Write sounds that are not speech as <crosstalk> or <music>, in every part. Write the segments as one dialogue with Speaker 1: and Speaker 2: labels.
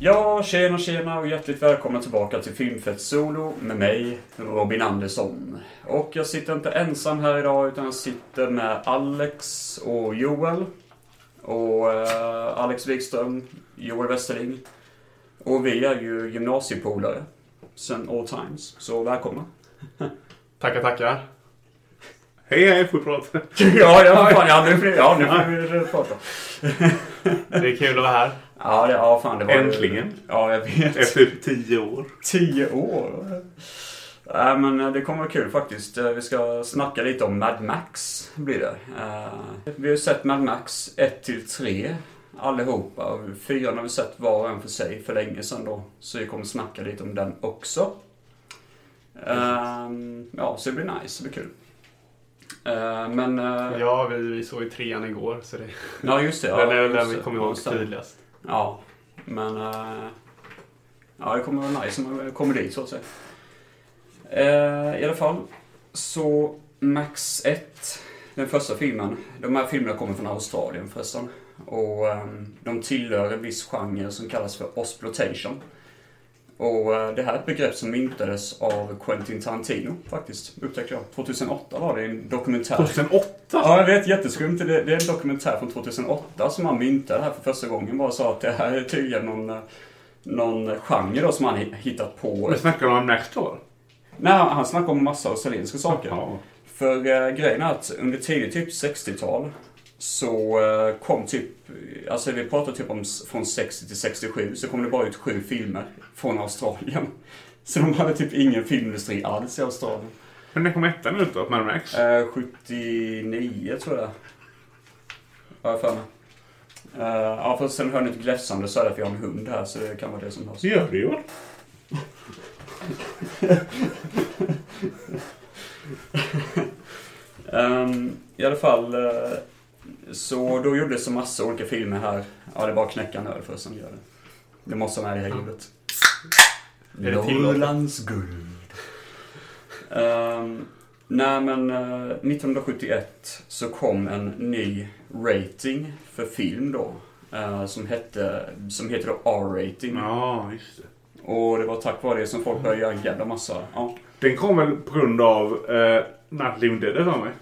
Speaker 1: Ja, tjena tjena och hjärtligt välkomna tillbaka till Filmfett Solo med mig, Robin Andersson. Och jag sitter inte ensam här idag utan jag sitter med Alex och Joel. Och eh, Alex Wikström, Joel Westerling. Och vi är ju gymnasiepolare sen all times, så välkomna.
Speaker 2: Tackar, tackar. Hej, hej, får vi prata.
Speaker 1: <laughs> ja, ja, fan, ja, nu, ja, nu får vi prata.
Speaker 2: Det är kul att vara här.
Speaker 1: Ja, det, ja, fan det var ju-
Speaker 2: Äntligen.
Speaker 1: Ja, jag vet.
Speaker 2: Efter typ tio år.
Speaker 1: Tio år? Nej men eh, det kommer vara kul faktiskt. Eh, Vi ska snacka lite om Mad Max blir det. Eh, Vi har ju sett Mad Max 1 till 3 allihopa. Och Fyran har vi sett var och en för sig för länge sedan då. Så vi kommer snacka lite om den också. Eh, Ja, så det blir nice. Det blir kul. Eh, Men... eh,
Speaker 2: Ja, vi, vi såg ju trean igår, så det
Speaker 1: Ja, just det. Ja,
Speaker 2: den är väl
Speaker 1: just
Speaker 2: den vi
Speaker 1: det.
Speaker 2: kommer
Speaker 1: Ja,
Speaker 2: ihåg
Speaker 1: stämmer.
Speaker 2: tydligast.
Speaker 1: Ja, men... eh, ja, det kommer vara nice om man kommer dit, så att säga. Eh, I alla fall, så Max 1, den första filmen. De här filmerna kommer från Australien förresten. Och ehm, de tillhör en viss genre som kallas för Osplotation. Och eh, det här är ett begrepp som myntades av Quentin Tarantino faktiskt, upptäckte jag. 2008 var det en dokumentär.
Speaker 2: 2008?
Speaker 1: Ja, jag vet. Jätteskumt. Det, det är en dokumentär från 2008 som han myntade här för första gången. Bara sa att det här är tydligen någon, eh, någon genre då som han hi- hittat på.
Speaker 2: Vi snackar om nästa år.
Speaker 1: Nej, han, han snackar om massa australienska saker.
Speaker 2: Ja.
Speaker 1: För eh, grejen är att under tidigt typ 60-tal så eh, kom typ, alltså vi pratar typ om s- från 60 till 67 så kom det bara ut sju filmer från Australien. <laughs> Så de hade typ ingen filmindustri alls i Australien.
Speaker 2: Men när kom ettan ut då, Mad Max?
Speaker 1: Eh, 79 tror jag Har jag för mig. Eh, ja, för sen hör ni ett gläfsande så är det för jag har en hund här så det kan vara det som hörs.
Speaker 2: Så gör det ju.
Speaker 1: Ehm, I alla fall, eh, så då gjordes det massa olika filmer här. Ja, det är bara att knäcka en öl för som gör det. Det måste vara med i det här ljudet.
Speaker 2: Är det tillåtet?
Speaker 1: Norrlands guld. Ehm, nej men eh, 1971 så kom en ny rating för film då. eh, som, hette, som heter då R-rating.
Speaker 2: Ja, just det.
Speaker 1: Och det var tack vare det som folk började göra en jävla massa. Ja,
Speaker 2: Den kom väl på grund av eh, Night Living Dead, har jag för mig.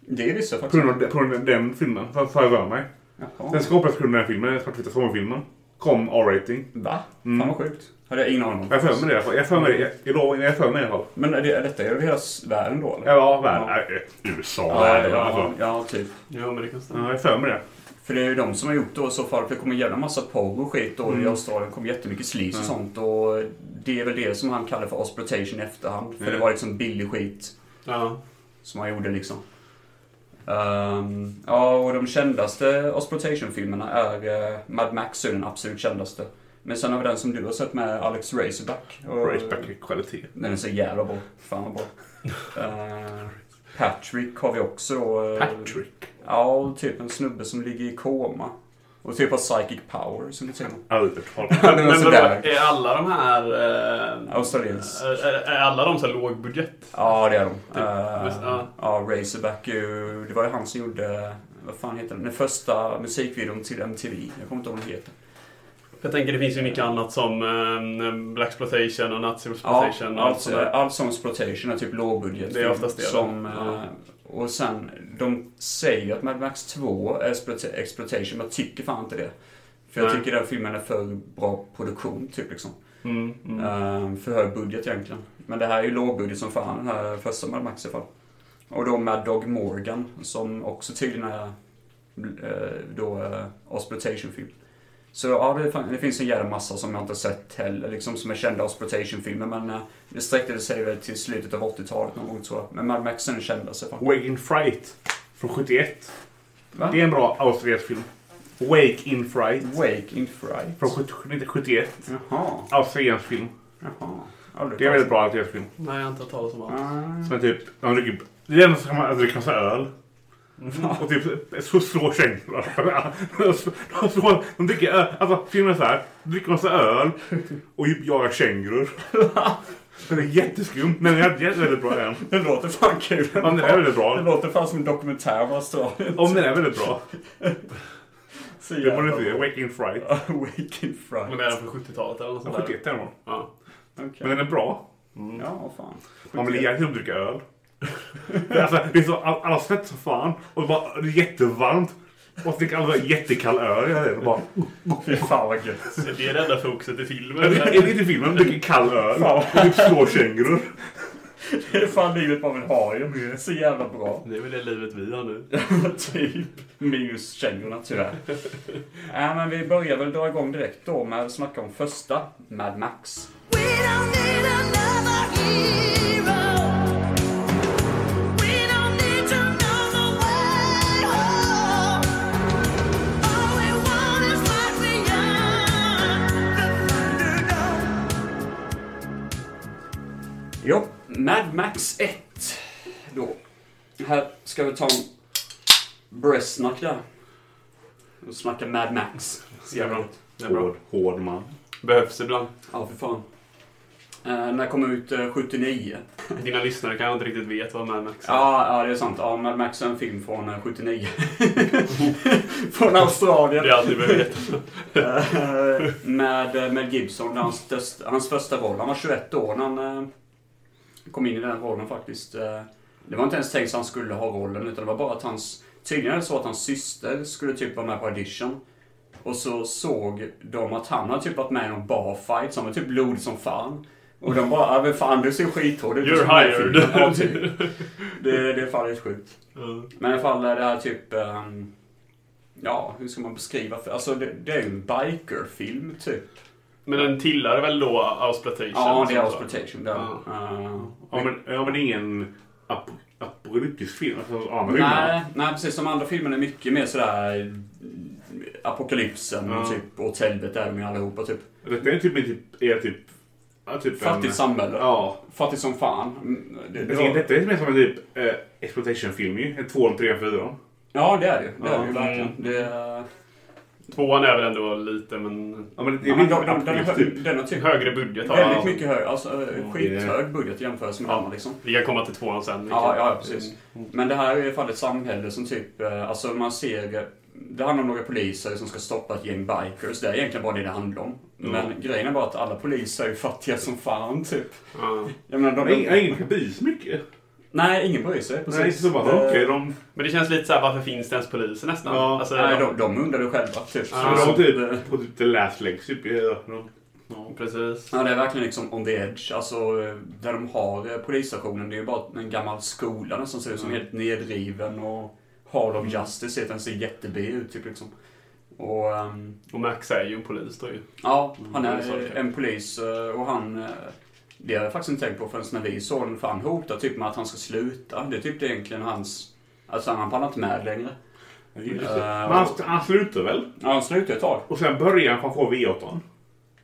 Speaker 1: det visste jag
Speaker 2: På
Speaker 1: faktiskt.
Speaker 2: grund av, på grund av den filmen, har jag för mig.
Speaker 1: Jaha.
Speaker 2: Den skapades på grund av den filmen, den svartvita sommarfilmen. Kom R-rating.
Speaker 1: Va?
Speaker 2: Mm.
Speaker 1: Fan vad sjukt. Hade jag ingen aning om.
Speaker 2: Jag har för mig det i alla fall. Jag har för mig det. Jag- Jag lovar, jag har för mig det i alla fall.
Speaker 1: Men är det, är detta över hela s- världen då eller?
Speaker 2: Ja, världen. Ja. USA.
Speaker 1: ja,
Speaker 2: världen,
Speaker 1: ja,
Speaker 2: alltså.
Speaker 1: ja, ja, typ.
Speaker 3: Jo, men det kan stämma.
Speaker 2: Ja, jag har för mig det.
Speaker 1: För det är ju de som har gjort det i så fall. För det kommer en jävla massa porr och skit då
Speaker 2: Mm.
Speaker 1: i Australien. Det kommer jättemycket slis och sånt. Och det är väl det som han kallar för exploitation i efterhand. För det
Speaker 2: Mm.
Speaker 1: var liksom billig skit
Speaker 3: Ja.
Speaker 1: som han gjorde liksom. Ehm, ja, och de kändaste exploitation-filmerna är eh, Mad Max är den absolut kändaste. Men sen har vi den som du har sett med Alex Razorback. Och-
Speaker 2: Raceback i kvalitet.
Speaker 1: Den är så jävla bra. Fan vad bra. Eh, Patrick har vi också då. eh,
Speaker 2: Patrick.
Speaker 1: Ja, typ en snubbe som ligger i koma. Och typ har psychic power, som du säger.
Speaker 2: Aldrig hört talas om.
Speaker 1: Ja, <laughs> det var
Speaker 3: Men
Speaker 1: sådär.
Speaker 3: vadå, är alla de här... Eh,
Speaker 1: Australiens.
Speaker 3: är, är alla de så här lågbudget?
Speaker 1: Ja, det är de.
Speaker 3: visst,
Speaker 1: Eh,
Speaker 3: ja.
Speaker 1: Ja, Razorback är ju- Det var ju han som gjorde... Vad fan heter den? Den första musikvideon till MTV. Jag kommer inte ihåg vad den heter.
Speaker 3: Jag tänker det finns ju mycket annat som eh, Black Exploitation och Nazi
Speaker 1: Ja,
Speaker 3: Exploitation och allt
Speaker 1: alltså,
Speaker 3: sådär.
Speaker 1: all sån exploitation är typ lågbudget.
Speaker 3: Det är oftast det,
Speaker 1: Som,
Speaker 3: va?
Speaker 1: eh, Och sen, de säger att Mad Max 2 är exploita- exploitation, men jag tycker fan inte det. För jag
Speaker 3: Nej.
Speaker 1: tycker den filmen är för bra produktion, typ liksom.
Speaker 3: Mm, mm.
Speaker 1: Eh, för hög budget egentligen. Men det här är ju lågbudget som fan, den här första Mad Max i alla fall. Och då med Dog Morgan, som också tydligen är eh, då uh, exploitation-film. Så ja, det, fan- det finns en jävla massa som jag inte har sett heller, liksom som är kända exploitation-filmer. Men eh, det sträckte sig väl till slutet av 80-talet någon gång tror jag. Men Mad Max är den kändaste fan.
Speaker 2: Wake in Fright. Från 71.
Speaker 1: Va?
Speaker 2: Det är en bra australiensk film. Wake in Fright.
Speaker 1: Wake in Fright.
Speaker 2: Från 70 71.
Speaker 1: Jaha,
Speaker 2: Australiensk film.
Speaker 1: jaha. Aldrig
Speaker 2: Det är en
Speaker 1: talat
Speaker 2: väldigt bra australiensk film.
Speaker 3: Nej, jag har inte hört talas om allt.
Speaker 1: om.
Speaker 2: Som är typ... De dricker, det är det enda som kan man att dricka massa öl.
Speaker 1: <laughs>
Speaker 2: Och typ så slår kängor. De, slår, de dricker öl. Alltså filmen är så här. De dricker massa öl och jagar kängor. Den är jätteskum. Men den är jätte- väldigt bra den.
Speaker 1: Det låter fan kul.
Speaker 2: Ja,
Speaker 1: <laughs>
Speaker 2: men den är väldigt
Speaker 1: Det
Speaker 2: bra.
Speaker 1: låter fan som en dokumentär om Australien.
Speaker 2: Om den är väldigt bra.
Speaker 1: Så
Speaker 2: Det borde
Speaker 1: jävla
Speaker 2: du se.
Speaker 1: bra.
Speaker 2: Wake in Fright.
Speaker 1: <laughs> Ja, Wake in Fright.
Speaker 3: Men det är den från 70-talet eller något
Speaker 2: Den
Speaker 3: sånt
Speaker 2: är
Speaker 3: där.
Speaker 2: 71 är den.
Speaker 3: Ja.
Speaker 1: Okej. Mm.
Speaker 2: Men den är bra.
Speaker 1: Ja, vad fan.
Speaker 2: Man vill egentligen dricka öl. Det är alltså, det är så, all- alla svettas som fan och det, bara, det är jättevarmt. Och så dricker alla så här jättekall öl. Jag vet, bara,
Speaker 1: Fy fan vad gött.
Speaker 3: Så det är det enda fokuset i
Speaker 2: <laughs> är
Speaker 3: filmen.
Speaker 2: det är det inte filmen? De dricker kall öl
Speaker 1: Fan.
Speaker 2: och typ slår kängurur.
Speaker 1: Det är fan livet man vill ha ju. Så jävla bra.
Speaker 3: Det är väl det livet vi har nu.
Speaker 1: <laughs> typ. Minus kängorna tyvärr. <laughs> Nej men vi börjar väl dra igång direkt då med att snacka om första Mad Max.
Speaker 4: We don't need another hero. We don't need to know the way home. All we want is what we are. The Thunderdome.
Speaker 1: Jo, Mad Max 1 då. Här ska vi ta en breastsnack där. Och snacka Mad Max. Så jävla gott.
Speaker 3: Det är bra.
Speaker 2: hård man.
Speaker 3: Behövs ibland.
Speaker 1: Ja, för fan. Eh, när kom ut eh, 79?
Speaker 3: Dina lyssnare kanske inte riktigt vet vad Mad Max är.
Speaker 1: Ja, ja, det är sant. Ja, Mad Max är en film från eh, 79. <laughs> från Australien.
Speaker 3: Det är allt ni behöver veta.
Speaker 1: Eh, med eh, Mel Gibson. Det är hans, störst- hans första roll. Han var 21 år när han eh, kom in i den rollen faktiskt. Eh, Det var inte ens tänkt att han skulle ha rollen, utan det var bara att hans... Tydligen är det så att hans syster skulle typ vara med på audition. Och så såg de att han hade typ varit med i någon barfight, så han var typ blodig som fan. Och de bara, ja men fan du ser skithård ut. Du
Speaker 3: You're
Speaker 1: ska med i
Speaker 3: hired.
Speaker 1: filmen." Ja, typ. det, det är fan helt sjukt.
Speaker 3: <laughs> Ja.
Speaker 1: Men i alla fall det här typ... ehm, ja, hur ska man beskriva? För, alltså det, det är ju en bikerfilm typ.
Speaker 3: Men den tillhör väl då Ausploitation?
Speaker 1: Ja, det är
Speaker 3: som sagt.
Speaker 1: Ausploitation. Det är,
Speaker 3: Ja.
Speaker 1: eh,
Speaker 2: Ja men, ja, men det är ingen ap apokalyptisk film. Alltså, ja, men
Speaker 1: nej, nej, precis. De andra filmerna är mycket mer sådär... mm, Apokalypsen
Speaker 2: Ja.
Speaker 1: typ, och åt helvete är de ju allihopa typ.
Speaker 2: Detta är typ, typ, är typ, ja, typ
Speaker 1: Fattigt samhälle.
Speaker 2: Ja.
Speaker 1: Fattigt som fan. Mm, Det,
Speaker 2: Jag
Speaker 1: det
Speaker 2: tänker,
Speaker 1: var,
Speaker 2: detta är mer som en typ eh, exploitation-film ju. En 2, 3, 4.
Speaker 1: ja, det är det ju. Det är det ju
Speaker 3: Ja,
Speaker 1: verkligen.
Speaker 3: mm.
Speaker 1: Det, är-
Speaker 3: Tvåan är väl ändå lite, men...
Speaker 2: Ja, men det
Speaker 1: ja,
Speaker 2: är
Speaker 1: men
Speaker 2: lite
Speaker 1: de-
Speaker 2: ja,
Speaker 1: de- den,
Speaker 2: apokalyptisk
Speaker 1: har-
Speaker 2: typ.
Speaker 1: den har typ
Speaker 3: Högre budget har
Speaker 1: väldigt
Speaker 3: den.
Speaker 1: mycket hög, alltså eh, skithög budget jämfört med
Speaker 3: Ja.
Speaker 1: andra liksom.
Speaker 3: Vi kan komma till tvåan sen.
Speaker 1: Ja, ja, precis. Men det här är i alla fall ett samhälle som typ, eh, alltså man ser, eh, det handlar om några poliser som ska stoppa ett gäng bikers. Det är egentligen bara det det handlar om. Men grejen är bara att alla poliser är ju fattiga som fan typ.
Speaker 3: Ja.
Speaker 1: Jag menar, de,
Speaker 2: Men ingen- Ingen kan bli så mycket.
Speaker 1: nej, ingen bryr sig. Precis. Eh,
Speaker 2: Nej, så bara,
Speaker 1: Det-
Speaker 2: okej, de...
Speaker 3: Men det känns lite så här, varför finns det ens poliser nästan?
Speaker 2: Ja.
Speaker 3: Alltså,
Speaker 1: nej, de, de undrar det själva typ.
Speaker 3: Ja,
Speaker 2: Ja,
Speaker 1: Så
Speaker 2: de var typ
Speaker 1: det-
Speaker 2: på typ the last legs typ. i öknen. Ja.
Speaker 3: Precis.
Speaker 1: Ja, det är verkligen liksom on the edge. Alltså, eh, där de har eh, polisstationen, det är ju bara en gammal skola som ser ut som helt nedriven och Hall of Justice heter den, ser jättebig ut typ liksom. Och, ehm,
Speaker 3: Och Max är ju en polis då ju.
Speaker 1: Ja, han
Speaker 3: det sa
Speaker 1: Mm. är
Speaker 3: jag.
Speaker 1: en polis eh, och han... eh, Det har jag faktiskt inte tänkt på förrän när vi såg honom, för han hotar typ med att han ska sluta. Det är typ det egentligen hans... Alltså han pallar inte med längre.
Speaker 2: Just det.
Speaker 1: Eh,
Speaker 2: Men han, han slutar väl?
Speaker 1: Ja, han slutar ett tag.
Speaker 2: Och sen börjar han få V8.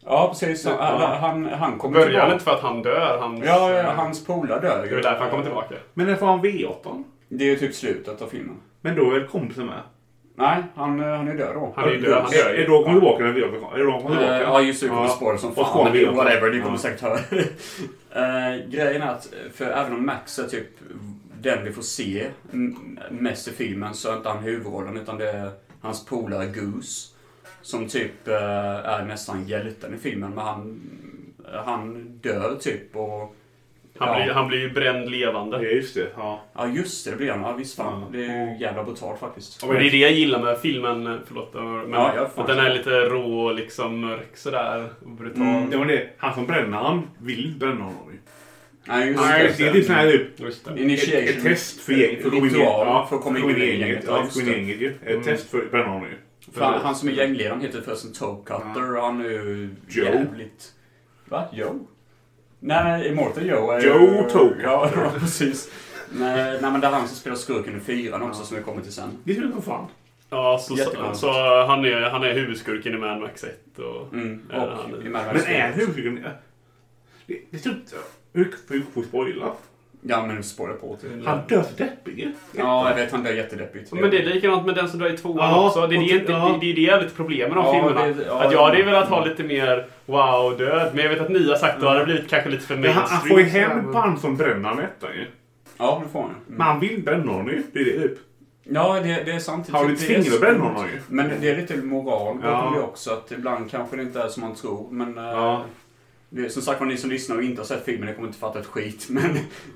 Speaker 1: Ja, precis. Han,
Speaker 3: Ja.
Speaker 1: han, han kommer
Speaker 3: Börjar han inte
Speaker 1: tillbaka.
Speaker 3: för att han dör? Hans, eh,
Speaker 1: Ja, ja, hans polare dör ju.
Speaker 3: Det är väl därför han kommer tillbaka.
Speaker 2: Men när får han V8?
Speaker 1: Det är ju typ slutet av filmen.
Speaker 2: Men då är väl kompisen med?
Speaker 1: Nej, han, eh, han är död då.
Speaker 3: Han är ju död. Han dör
Speaker 2: Är
Speaker 3: ju.
Speaker 2: är då kommer tillbaka när V8 kommer? Är då kommer tillbaka?
Speaker 1: Eh, Ja, just det. Vi kommer
Speaker 2: Ja.
Speaker 1: spåra som
Speaker 2: Och spåra
Speaker 1: fan. Men
Speaker 2: vidare.
Speaker 1: whatever, ni kommer
Speaker 2: Ja.
Speaker 1: säkert höra. <laughs> Eh, Grejen är att, för även om Max är typ den vi får se m- mest i filmen så är inte han huvudrollen utan det är hans polare Goose. Som typ eh, är nästan hjälten i filmen men han, han dör typ och...
Speaker 3: Han,
Speaker 1: Ja.
Speaker 3: blir, han blir ju bränd levande.
Speaker 2: Ja, just det. Ja.
Speaker 1: Ja just det, det blir han. Ja visst fan.
Speaker 2: Ja.
Speaker 1: Det är ju jävla brutalt faktiskt.
Speaker 3: Och det är det jag gillar med filmen, förlåt, men
Speaker 1: Ja, jag får
Speaker 3: att den är lite rå och liksom mörk sådär. Och brutal.
Speaker 1: Mm.
Speaker 2: Det var det. Han som bränner han vill inte bränna honom ju.
Speaker 1: Nej just
Speaker 2: Nej,
Speaker 1: det.
Speaker 2: just det. Det är typ sån här typ
Speaker 3: Just det.
Speaker 2: Ett,
Speaker 1: Initiation.
Speaker 2: ett test för gänget. För att gå in i
Speaker 1: Ritual
Speaker 2: ja,
Speaker 1: för att komma in i gänget. Ja,
Speaker 2: Ja, för att gå in
Speaker 1: just Mm.
Speaker 2: i gänget ju. Ett test för bränner honom ju.
Speaker 1: För han, han som är gängledaren heter förresten Toe Cutter och han är ju
Speaker 2: Joe.
Speaker 1: jävligt... Va? Joe? Nej, Immortal Joe är
Speaker 2: Joe Toe
Speaker 1: Ja, <laughs> ja, precis. nej, nej, men det är han som spelar skurken i fyran också som vi kommer till sen.
Speaker 2: Det är synd som fan.
Speaker 3: Ja, så, så,
Speaker 1: Jättekonstigt.
Speaker 3: så han, är, han är huvudskurken i Mad Max 1. Och,
Speaker 1: Mm,
Speaker 3: Ja, han
Speaker 1: och
Speaker 3: är-
Speaker 1: i Mad Max
Speaker 2: Men är
Speaker 1: Fury.
Speaker 2: huvudfiguren... Det det är typ... Hur hur får vi spoila?
Speaker 1: Ja, men spoiler på till.
Speaker 2: Han dör så deppig ju.
Speaker 1: Ja, jag vet. Han blir jättedeppigt.
Speaker 3: men det är likadant med den som drar i tvåan
Speaker 2: Ja,
Speaker 3: också. Det är
Speaker 2: och
Speaker 3: det,
Speaker 2: ty-
Speaker 3: det, det,
Speaker 2: ja.
Speaker 3: det, är det jag är lite problem med de
Speaker 1: Ja,
Speaker 3: filmerna.
Speaker 1: det- ja,
Speaker 3: att jag hade ju
Speaker 1: ja.
Speaker 3: velat ha lite mer wow, död. Men jag vet att ni har sagt att det hade blivit kanske lite för
Speaker 2: Men han,
Speaker 3: mainstream.
Speaker 2: han får ju
Speaker 3: sådär,
Speaker 2: hem
Speaker 3: men-
Speaker 2: på han som bränner han ettan ju.
Speaker 1: Ja, det får han. Mm.
Speaker 2: Men han vill bränna honom ju. Det är det typ.
Speaker 1: Ja, det, det är sant.
Speaker 2: Har du
Speaker 1: Det- det är-
Speaker 2: fingerbränd någon har ju.
Speaker 1: Men det är lite moral
Speaker 2: Ja.
Speaker 1: bakom det också. Att ibland kanske det inte är som man tror. Men eh,
Speaker 2: Ja.
Speaker 1: det, som sagt var, ni som lyssnar och inte har sett filmen, ni kommer inte fatta ett skit. <laughs> Men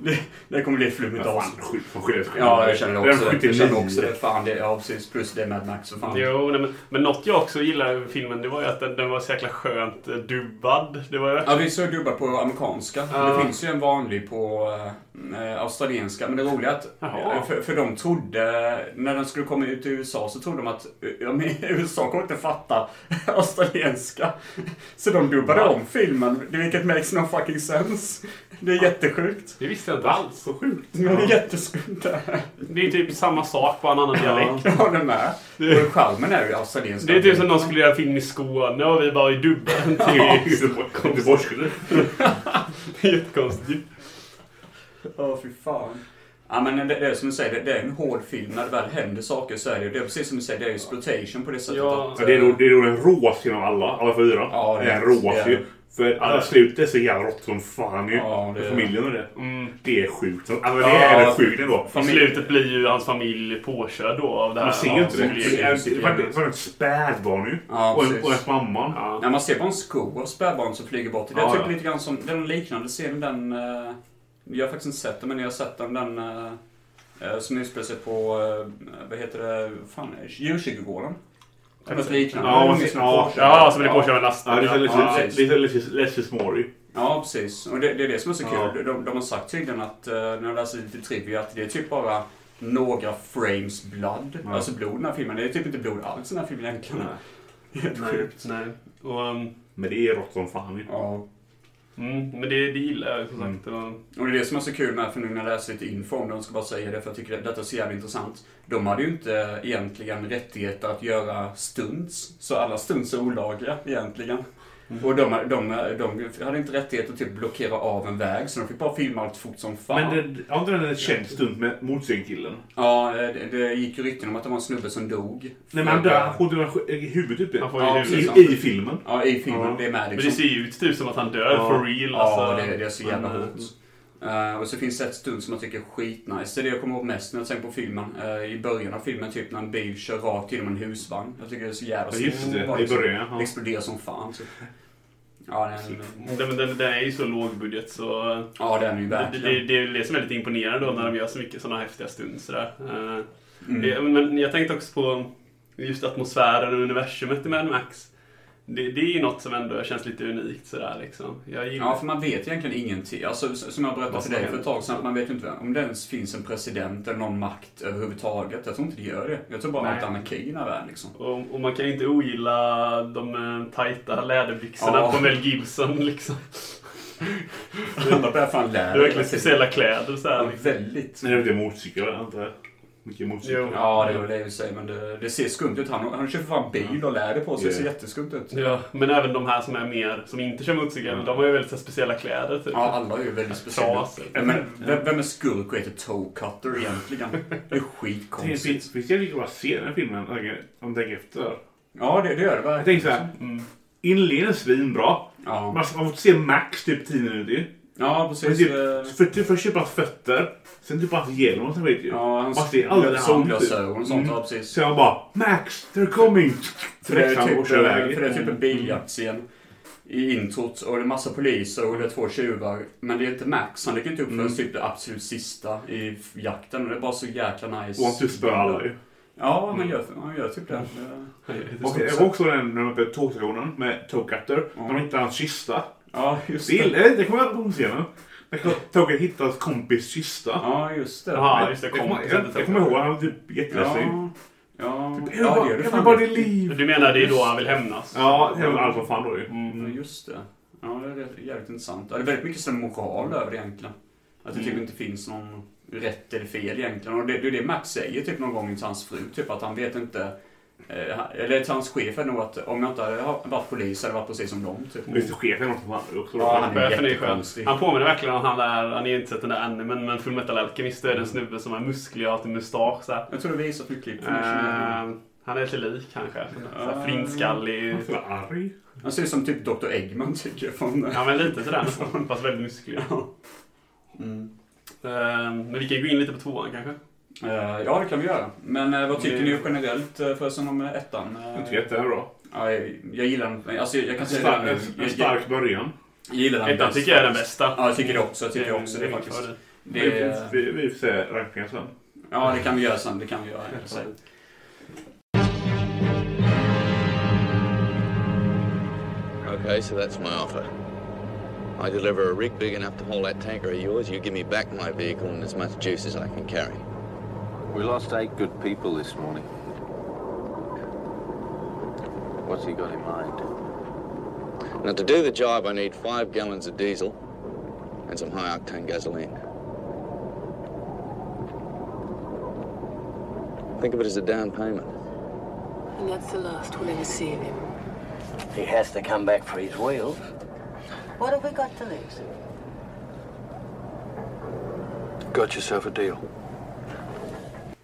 Speaker 1: det, det kommer bli ett flummigt
Speaker 2: Ja,
Speaker 1: avsnitt.
Speaker 2: fan, skit från skit.
Speaker 1: Ja, jag känner också
Speaker 2: Den
Speaker 1: det. Jag känner också
Speaker 2: 79.
Speaker 1: det. Fan, det, ja, precis. Plus det är Mad Max och fan.
Speaker 3: Jo, nej, men, men något jag också gillade med filmen det var ju att den, den var så jäkla skönt eh, dubbad. Det var ju...
Speaker 1: Ja, vi såg dubbar på amerikanska.
Speaker 3: Ja.
Speaker 1: Det finns ju en vanlig på eh, australienska. Men det roliga är att eh,
Speaker 3: Jaha.
Speaker 1: för, för de trodde, när den skulle komma ut i USA, så trodde de att eh, ja, men, <laughs> USA kommer inte fatta <laughs> australienska. Så de dubbade
Speaker 3: Va?
Speaker 1: om filmen, det- vilket makes no fucking sense. Det är jättesjukt.
Speaker 3: Det visste jag inte alls.
Speaker 2: Så sjukt.
Speaker 1: Men det är jätteskumt det här.
Speaker 3: Det är ju typ samma sak, bara en annan dialekt.
Speaker 1: Jag håller med. Och charmen är ju australienska.
Speaker 3: Det är typ som någon skulle göra film i Skåne och vi bara är
Speaker 2: <laughs>
Speaker 3: dubbade till...
Speaker 2: Göteborgskille.
Speaker 3: <laughs> Jättekonstigt.
Speaker 1: Ja, fy fan. Ja, men det, det är som du säger, det, det är en hård film. När det väl händer saker så är det ju, det är precis som du säger, det är ju exploitation på det sättet.
Speaker 3: Ja.
Speaker 1: att,
Speaker 2: Ja, det är
Speaker 1: eh,
Speaker 2: nog det är nog en rås genom alla, alla fyra.
Speaker 1: Ja,
Speaker 2: det är en
Speaker 1: det-
Speaker 2: rås
Speaker 1: det är-
Speaker 2: ju. För alla slutet är så jävla rått som fan ju.
Speaker 1: Ja, det-
Speaker 2: För familjen och det.
Speaker 3: Mm.
Speaker 2: Det är sjukt. Alltså, det
Speaker 1: Ja.
Speaker 2: är ja. sjukt ändå.
Speaker 3: I
Speaker 1: Familj-
Speaker 3: slutet blir ju hans familj påkörd då av det här.
Speaker 2: Man ser ju inte det.
Speaker 3: som blir-
Speaker 2: Det är- Det var- det var ett spädbarn ju.
Speaker 1: Ja,
Speaker 2: och, en,
Speaker 1: precis.
Speaker 2: och ens mamma.
Speaker 3: Ja.
Speaker 1: När man ser bara en sko av spädbarn som flyger bort. Det är
Speaker 2: Ja,
Speaker 1: typ
Speaker 2: ja.
Speaker 1: lite grann som den liknande scenen, den... eh, jag har faktiskt inte sett den, men jag har sett den, den eh, eh, som utspelar sig på, eh, vad heter det, vad fan, är det? djurkyrkogården.
Speaker 3: Kan
Speaker 1: Något
Speaker 3: du säga?
Speaker 1: liknande.
Speaker 2: Ja,
Speaker 1: Det är
Speaker 2: man
Speaker 1: ju
Speaker 2: ser-
Speaker 1: någon
Speaker 2: ja.
Speaker 1: påkörd.
Speaker 3: Ja, som blir
Speaker 1: Ja.
Speaker 3: påkörd av lasten.
Speaker 2: Ja, det är
Speaker 1: Ja,
Speaker 2: lite-
Speaker 1: precis.
Speaker 2: lite lite Leslie Smory.
Speaker 1: Ja, precis. Och det, det är det som är så
Speaker 2: Ja.
Speaker 1: kul. De, de har sagt tydligen att, eh, när jag läser lite trivia, att det är typ bara några frames blood.
Speaker 2: Ja.
Speaker 1: Alltså blod i den här filmen. Det är typ inte blod alls i den här filmen egentligen.
Speaker 2: <laughs>
Speaker 1: Helt
Speaker 3: Nej,
Speaker 1: sjukt.
Speaker 3: nej. Och, um,
Speaker 2: Men det är rått som fan ju.
Speaker 1: Ja.
Speaker 3: mm, men det, det gillar jag som sagt. Och,
Speaker 1: Och det är det som är så kul med, för nu när jag läser lite info om det, jag ska bara säga det, för jag tycker det, detta är så jävla intressant. De hade ju inte egentligen rättigheter att göra stunts, så alla stunts är olagliga egentligen.
Speaker 2: Mm.
Speaker 1: Och de, de, de, hade inte rättighet att typ blockera av en väg, så de fick bara filma allt fort som fan.
Speaker 2: Men det, har inte den en känd stund med motorcykelkillen?
Speaker 1: Ja, eh, det, det gick ju rykten om att det var en snubbe som dog.
Speaker 2: Nej men han dör. Han skjuter honom i huvudet typ.
Speaker 3: han får ju
Speaker 1: Ja,
Speaker 3: huvudet.
Speaker 1: precis.
Speaker 2: I, I filmen.
Speaker 1: Ja, i filmen.
Speaker 2: Ja.
Speaker 1: Det är med
Speaker 3: Men det
Speaker 1: liksom.
Speaker 3: ser ju ut typ som att han dör
Speaker 2: Ja.
Speaker 3: for real.
Speaker 1: Ja,
Speaker 3: alltså.
Speaker 1: det, det är så jävla
Speaker 3: Men, eh,
Speaker 1: hårt. Eh, och så finns det ett stund som jag tycker är skitnice. Det är det jag kommer ihåg mest när jag tänker på filmen. Eh, I början av filmen, typ när en bil kör rakt genom en husvagn. Jag tycker det är så jävla
Speaker 2: Ja, just det.
Speaker 1: bara
Speaker 2: I början, ja.
Speaker 1: Exploderar som fan. Typ. Ja, den,
Speaker 3: Den, den, den är ju så lågbudget så eh,
Speaker 1: ja, den är ju
Speaker 3: det, det,
Speaker 1: verkligen...
Speaker 3: det är det som är lite imponerande då när de gör så mycket sådana häftiga stunder. Sådär. Eh,
Speaker 1: Mm.
Speaker 3: det, men jag tänkte också på just atmosfären och universumet i Mad Max. Det, det är ju något som ändå känns lite unikt sådär liksom. Jag gillar
Speaker 1: Ja, för man vet egentligen ingenting. Alltså, s- som jag berättade
Speaker 3: Vad
Speaker 1: för
Speaker 3: som
Speaker 1: dig
Speaker 3: händer.
Speaker 1: för ett tag sedan, att man vet ju inte om det ens finns en president eller någon makt överhuvudtaget. Jag tror inte det gör det. Jag tror bara
Speaker 3: Nej.
Speaker 1: att det är anarki i den här världen
Speaker 3: <laughs>
Speaker 1: liksom.
Speaker 3: Och, och man kan ju inte ogilla de eh, tajta läderbyxorna
Speaker 1: Ja.
Speaker 3: på Mel Gibson liksom.
Speaker 1: Alla börjar fan lära
Speaker 3: Det är verkligen speciella kläder så
Speaker 1: Mm.
Speaker 3: här. Liksom.
Speaker 1: Väldigt.
Speaker 2: Nej, det är motorcykel antar jag. Mycket motorcykel.
Speaker 3: Jo.
Speaker 1: Ja, det var det jag säger, men det, det ser skumt ut. Han, han kör för fan bil och läder på sig. Det ser
Speaker 2: Ja.
Speaker 1: jätteskumt ut.
Speaker 3: liksom. Ja, men även de här som är mer, som inte kör motorcykel,
Speaker 2: Mm.
Speaker 3: de har ju väldigt så här, speciella kläder typ.
Speaker 1: Ja, alla är ju väldigt speciella.
Speaker 3: Trasor.
Speaker 1: Men vem, vem är skurk och heter toe cutter egentligen? Det är
Speaker 2: Det <laughs>
Speaker 1: skitkonstigt.
Speaker 2: finns det jävligt bra scener i den här filmen om jag- om jag tänker efter.
Speaker 1: Ja, det, det gör det
Speaker 2: Jag
Speaker 1: verkligen.
Speaker 2: tänker såhär.
Speaker 3: Mm.
Speaker 2: Inledningen är svinbra. Man
Speaker 1: Ja,
Speaker 2: man får se Max typ 10 minuter ju.
Speaker 1: ja
Speaker 2: Men
Speaker 1: precis.
Speaker 2: typ,
Speaker 1: eh,
Speaker 2: för, typ, först köper hans fötter. Sen typ hans hjälm och sånt skit ju.
Speaker 1: Ja,
Speaker 2: Man
Speaker 1: hans
Speaker 2: ser aldrig han typ.
Speaker 1: solglasögon och sånt.
Speaker 2: Mm.
Speaker 1: Ja, precis.
Speaker 2: Så jag bara Max, they're coming!
Speaker 1: För det, är
Speaker 2: Fräxar
Speaker 1: typ,
Speaker 2: och kör iväg.
Speaker 1: för det är typ en biljaktscen i introt och det är massa poliser och det är två tjuvar. Men det är inte Max, han dyker inte upp förrän typ det absolut sista i f- jakten och det är bara så jäkla nice.
Speaker 2: Och han tuspar alla ju.
Speaker 1: Ja, han gör, han gör typ det.
Speaker 2: Och det var också den när de var på tågstationen med Toecutter. När de hittade hans kista.
Speaker 1: Ja, just
Speaker 2: Det,
Speaker 1: det.
Speaker 2: det kommer jag ihåg scenen. När Toecutter hittade hans kompis kista.
Speaker 1: Ja, just det.
Speaker 3: Jaha. Ja, just det,
Speaker 2: Jag kommer-
Speaker 3: kompisen
Speaker 2: jag-
Speaker 3: till
Speaker 2: jag kommer ihåg, han var typ
Speaker 1: Ja,
Speaker 2: jätteledsen.
Speaker 1: ja.
Speaker 2: Typ,
Speaker 1: ja det gör du
Speaker 2: Jag vill
Speaker 1: fan
Speaker 2: bara
Speaker 1: rätt
Speaker 2: det
Speaker 1: i.
Speaker 2: liv.
Speaker 3: Du menar det är då han vill hämnas?
Speaker 2: Ja, det var allt som fan då ju.
Speaker 3: Mm.
Speaker 1: Ja, just det. Ja, det är rätt- jävligt intressant. Ja, det är väldigt mycket sån moral över det egentligen. Att det typ
Speaker 3: Mm.
Speaker 1: inte finns någon rätt eller fel egentligen. Och det, det är det Max säger typ någon gång till hans fru. Typ att han vet inte... Eh, han- eller till hans chef är nog att om jag inte hade ha- varit polis hade jag varit precis som dem. Typ.
Speaker 2: Visst, chefen är något som han är också.
Speaker 1: Ja, han är
Speaker 3: Chefen är ju skön.
Speaker 1: jättekonstig.
Speaker 3: Han påminner verkligen om han där, han har ju inte sett den där ännu, men, men Fullmetal Alchemist är
Speaker 1: Mm.
Speaker 3: den snubbe som har muskler och har en mustasch så här.
Speaker 1: Jag tror du visat mycket klipp från uh,
Speaker 3: Eh, Han är lite lik kanske. Så här Flintskallig.
Speaker 2: Han är så arg.
Speaker 1: Han ser ut som typ Dr. Eggman <laughs> tycker jag. Från,
Speaker 3: Ja men
Speaker 1: <laughs>
Speaker 3: lite sådär nästan, fast väldigt musklig.
Speaker 1: Mm.
Speaker 3: Eh, Men vi kan ju gå in lite på tvåan kanske.
Speaker 1: Eh, ja, det kan vi göra. Men eh, vad tycker
Speaker 3: Det-
Speaker 1: ni generellt eh, förresten om eh, ettan? Eh,
Speaker 2: Jag tycker ettan är bra.
Speaker 1: ja, jag, jag gillar den. Alltså, jag kan
Speaker 2: En,
Speaker 1: säga
Speaker 2: star-
Speaker 1: det.
Speaker 2: en, en stark början.
Speaker 1: Jag gillar den
Speaker 3: Ettan
Speaker 1: bäst.
Speaker 3: tycker jag är den bästa. Eh,
Speaker 1: Ja, jag tycker det också. Jag tycker också det
Speaker 3: är
Speaker 1: faktiskt.
Speaker 3: min favorit.
Speaker 1: Det, är-
Speaker 2: Vi, vi får se rankingen sen.
Speaker 1: ja, det kan vi göra sen. Det kan vi göra. jag säger.
Speaker 5: Okay, so that's my offer. I deliver a rig big enough to haul that tanker of yours. You give me back my vehicle and as much juice as I can carry.
Speaker 6: We lost eight good people this morning. What's he got in mind?
Speaker 5: Now, to do the job, I need five gallons of diesel and some high octane gasoline. Think of it as a down payment.
Speaker 7: And that's the last we'll ever see of him.
Speaker 8: He has to come back for his wheels. What have we got to lose?
Speaker 6: Got yourself a deal.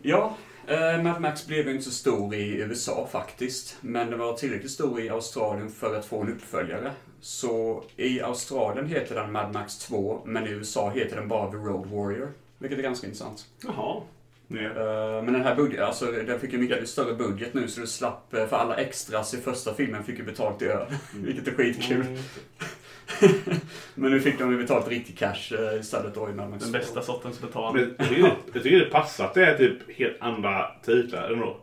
Speaker 1: Ja, eh, Mad Max blev ju inte så stor i USA faktiskt. Men den var tillräckligt stor i Australien för att få en uppföljare. Så i Australien heter den Mad Max 2, men i USA heter den bara The Road Warrior. Vilket är ganska intressant.
Speaker 3: Jaha.
Speaker 2: Ja.
Speaker 1: Eh, Men den här budget, alltså den fick ju mycket större budget nu så du slapp, eh, för alla extras i första filmen fick ju betalt i öl. <laughs> Vilket är skitkul.
Speaker 2: Mm.
Speaker 1: <laughs> Men nu fick de ju betalt riktigt cash eh, istället då i Mad Max
Speaker 3: Den
Speaker 1: 2.
Speaker 3: bästa sortens betalning.
Speaker 2: Men jag tycker- jag tycker det passar att det är typ helt andra titlar ändå.